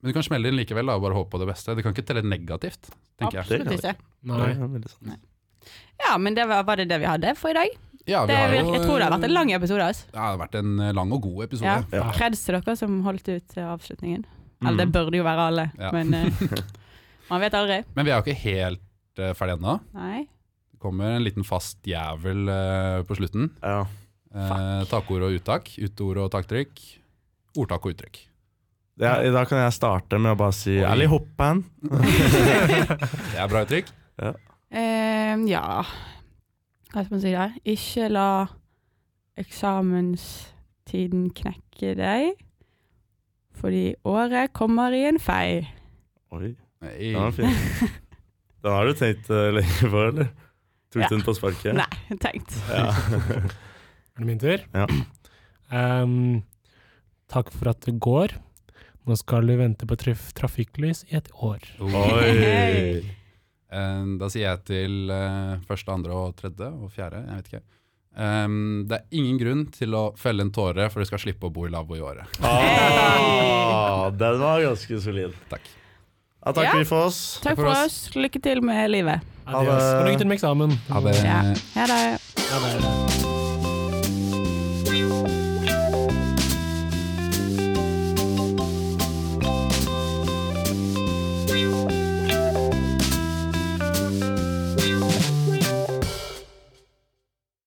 Speaker 2: Men du kan smelle inn likevel da, og bare håpe på det beste. Det kan ikke telle negativt, tenker jeg.
Speaker 4: Absolutt ikke.
Speaker 1: Nei.
Speaker 3: Det er veldig sant.
Speaker 4: Ja, men det var, var det det vi hadde for i dag.
Speaker 2: Ja, vi
Speaker 4: Det,
Speaker 2: har
Speaker 4: jeg,
Speaker 2: jo,
Speaker 4: jeg tror det har vært en lang episode. Altså.
Speaker 2: Ja, det har vært en eh, lang og god episode.
Speaker 4: Ja.
Speaker 3: Ja.
Speaker 4: Kreds til dere som holdt ut til avslutningen. Eller
Speaker 2: Mhm.
Speaker 4: det burde jo være alle,
Speaker 2: Ja.
Speaker 4: men eh, man vet aldri.
Speaker 2: Men vi er jo ikke helt eh, ferdig ennå.
Speaker 4: Nei.
Speaker 2: Det kommer en liten fast jævel eh, på slutten.
Speaker 3: Ja.
Speaker 2: Eh, takord og uttak. Utord og taktrykk. Ordtak og uttrykk.
Speaker 3: Ja, I dag kan jeg starte med å bare si
Speaker 2: Oi.
Speaker 3: Ally Hoppan.
Speaker 2: Det er bra uttrykk.
Speaker 4: Eh, ja Hva skal man si der? Ikke la eksamenstiden knekke deg, fordi året kommer i en fei.
Speaker 3: Oi,
Speaker 2: Nei.
Speaker 3: den var fin. Den har du tenkt eh, lenge på, eller? Tok
Speaker 4: Ja.
Speaker 3: du den på sparket?
Speaker 4: Nei, tenkt.
Speaker 3: Ja.
Speaker 1: Er det min tur?
Speaker 3: Ja.
Speaker 1: Ehm, takk for at du går. Nå skal du vente på traf trafikklys i et år.
Speaker 3: Oi!
Speaker 2: Eh, Da sier jeg til eh, første, andre og tredje og fjerde, jeg vet ikke. Ehm, det er ingen grunn til å felle en tåre for du skal slippe å bo i lavvo i året.
Speaker 3: Ah, den var ganske solid.
Speaker 2: Takk.
Speaker 3: Da takker
Speaker 4: Ja.
Speaker 3: vi for oss.
Speaker 4: Takk for oss. Lykke til med livet.
Speaker 3: det.
Speaker 1: Adios. Og lykke til med eksamen.
Speaker 2: Ha det.
Speaker 4: Ja. Ha det.
Speaker 1: Ha det.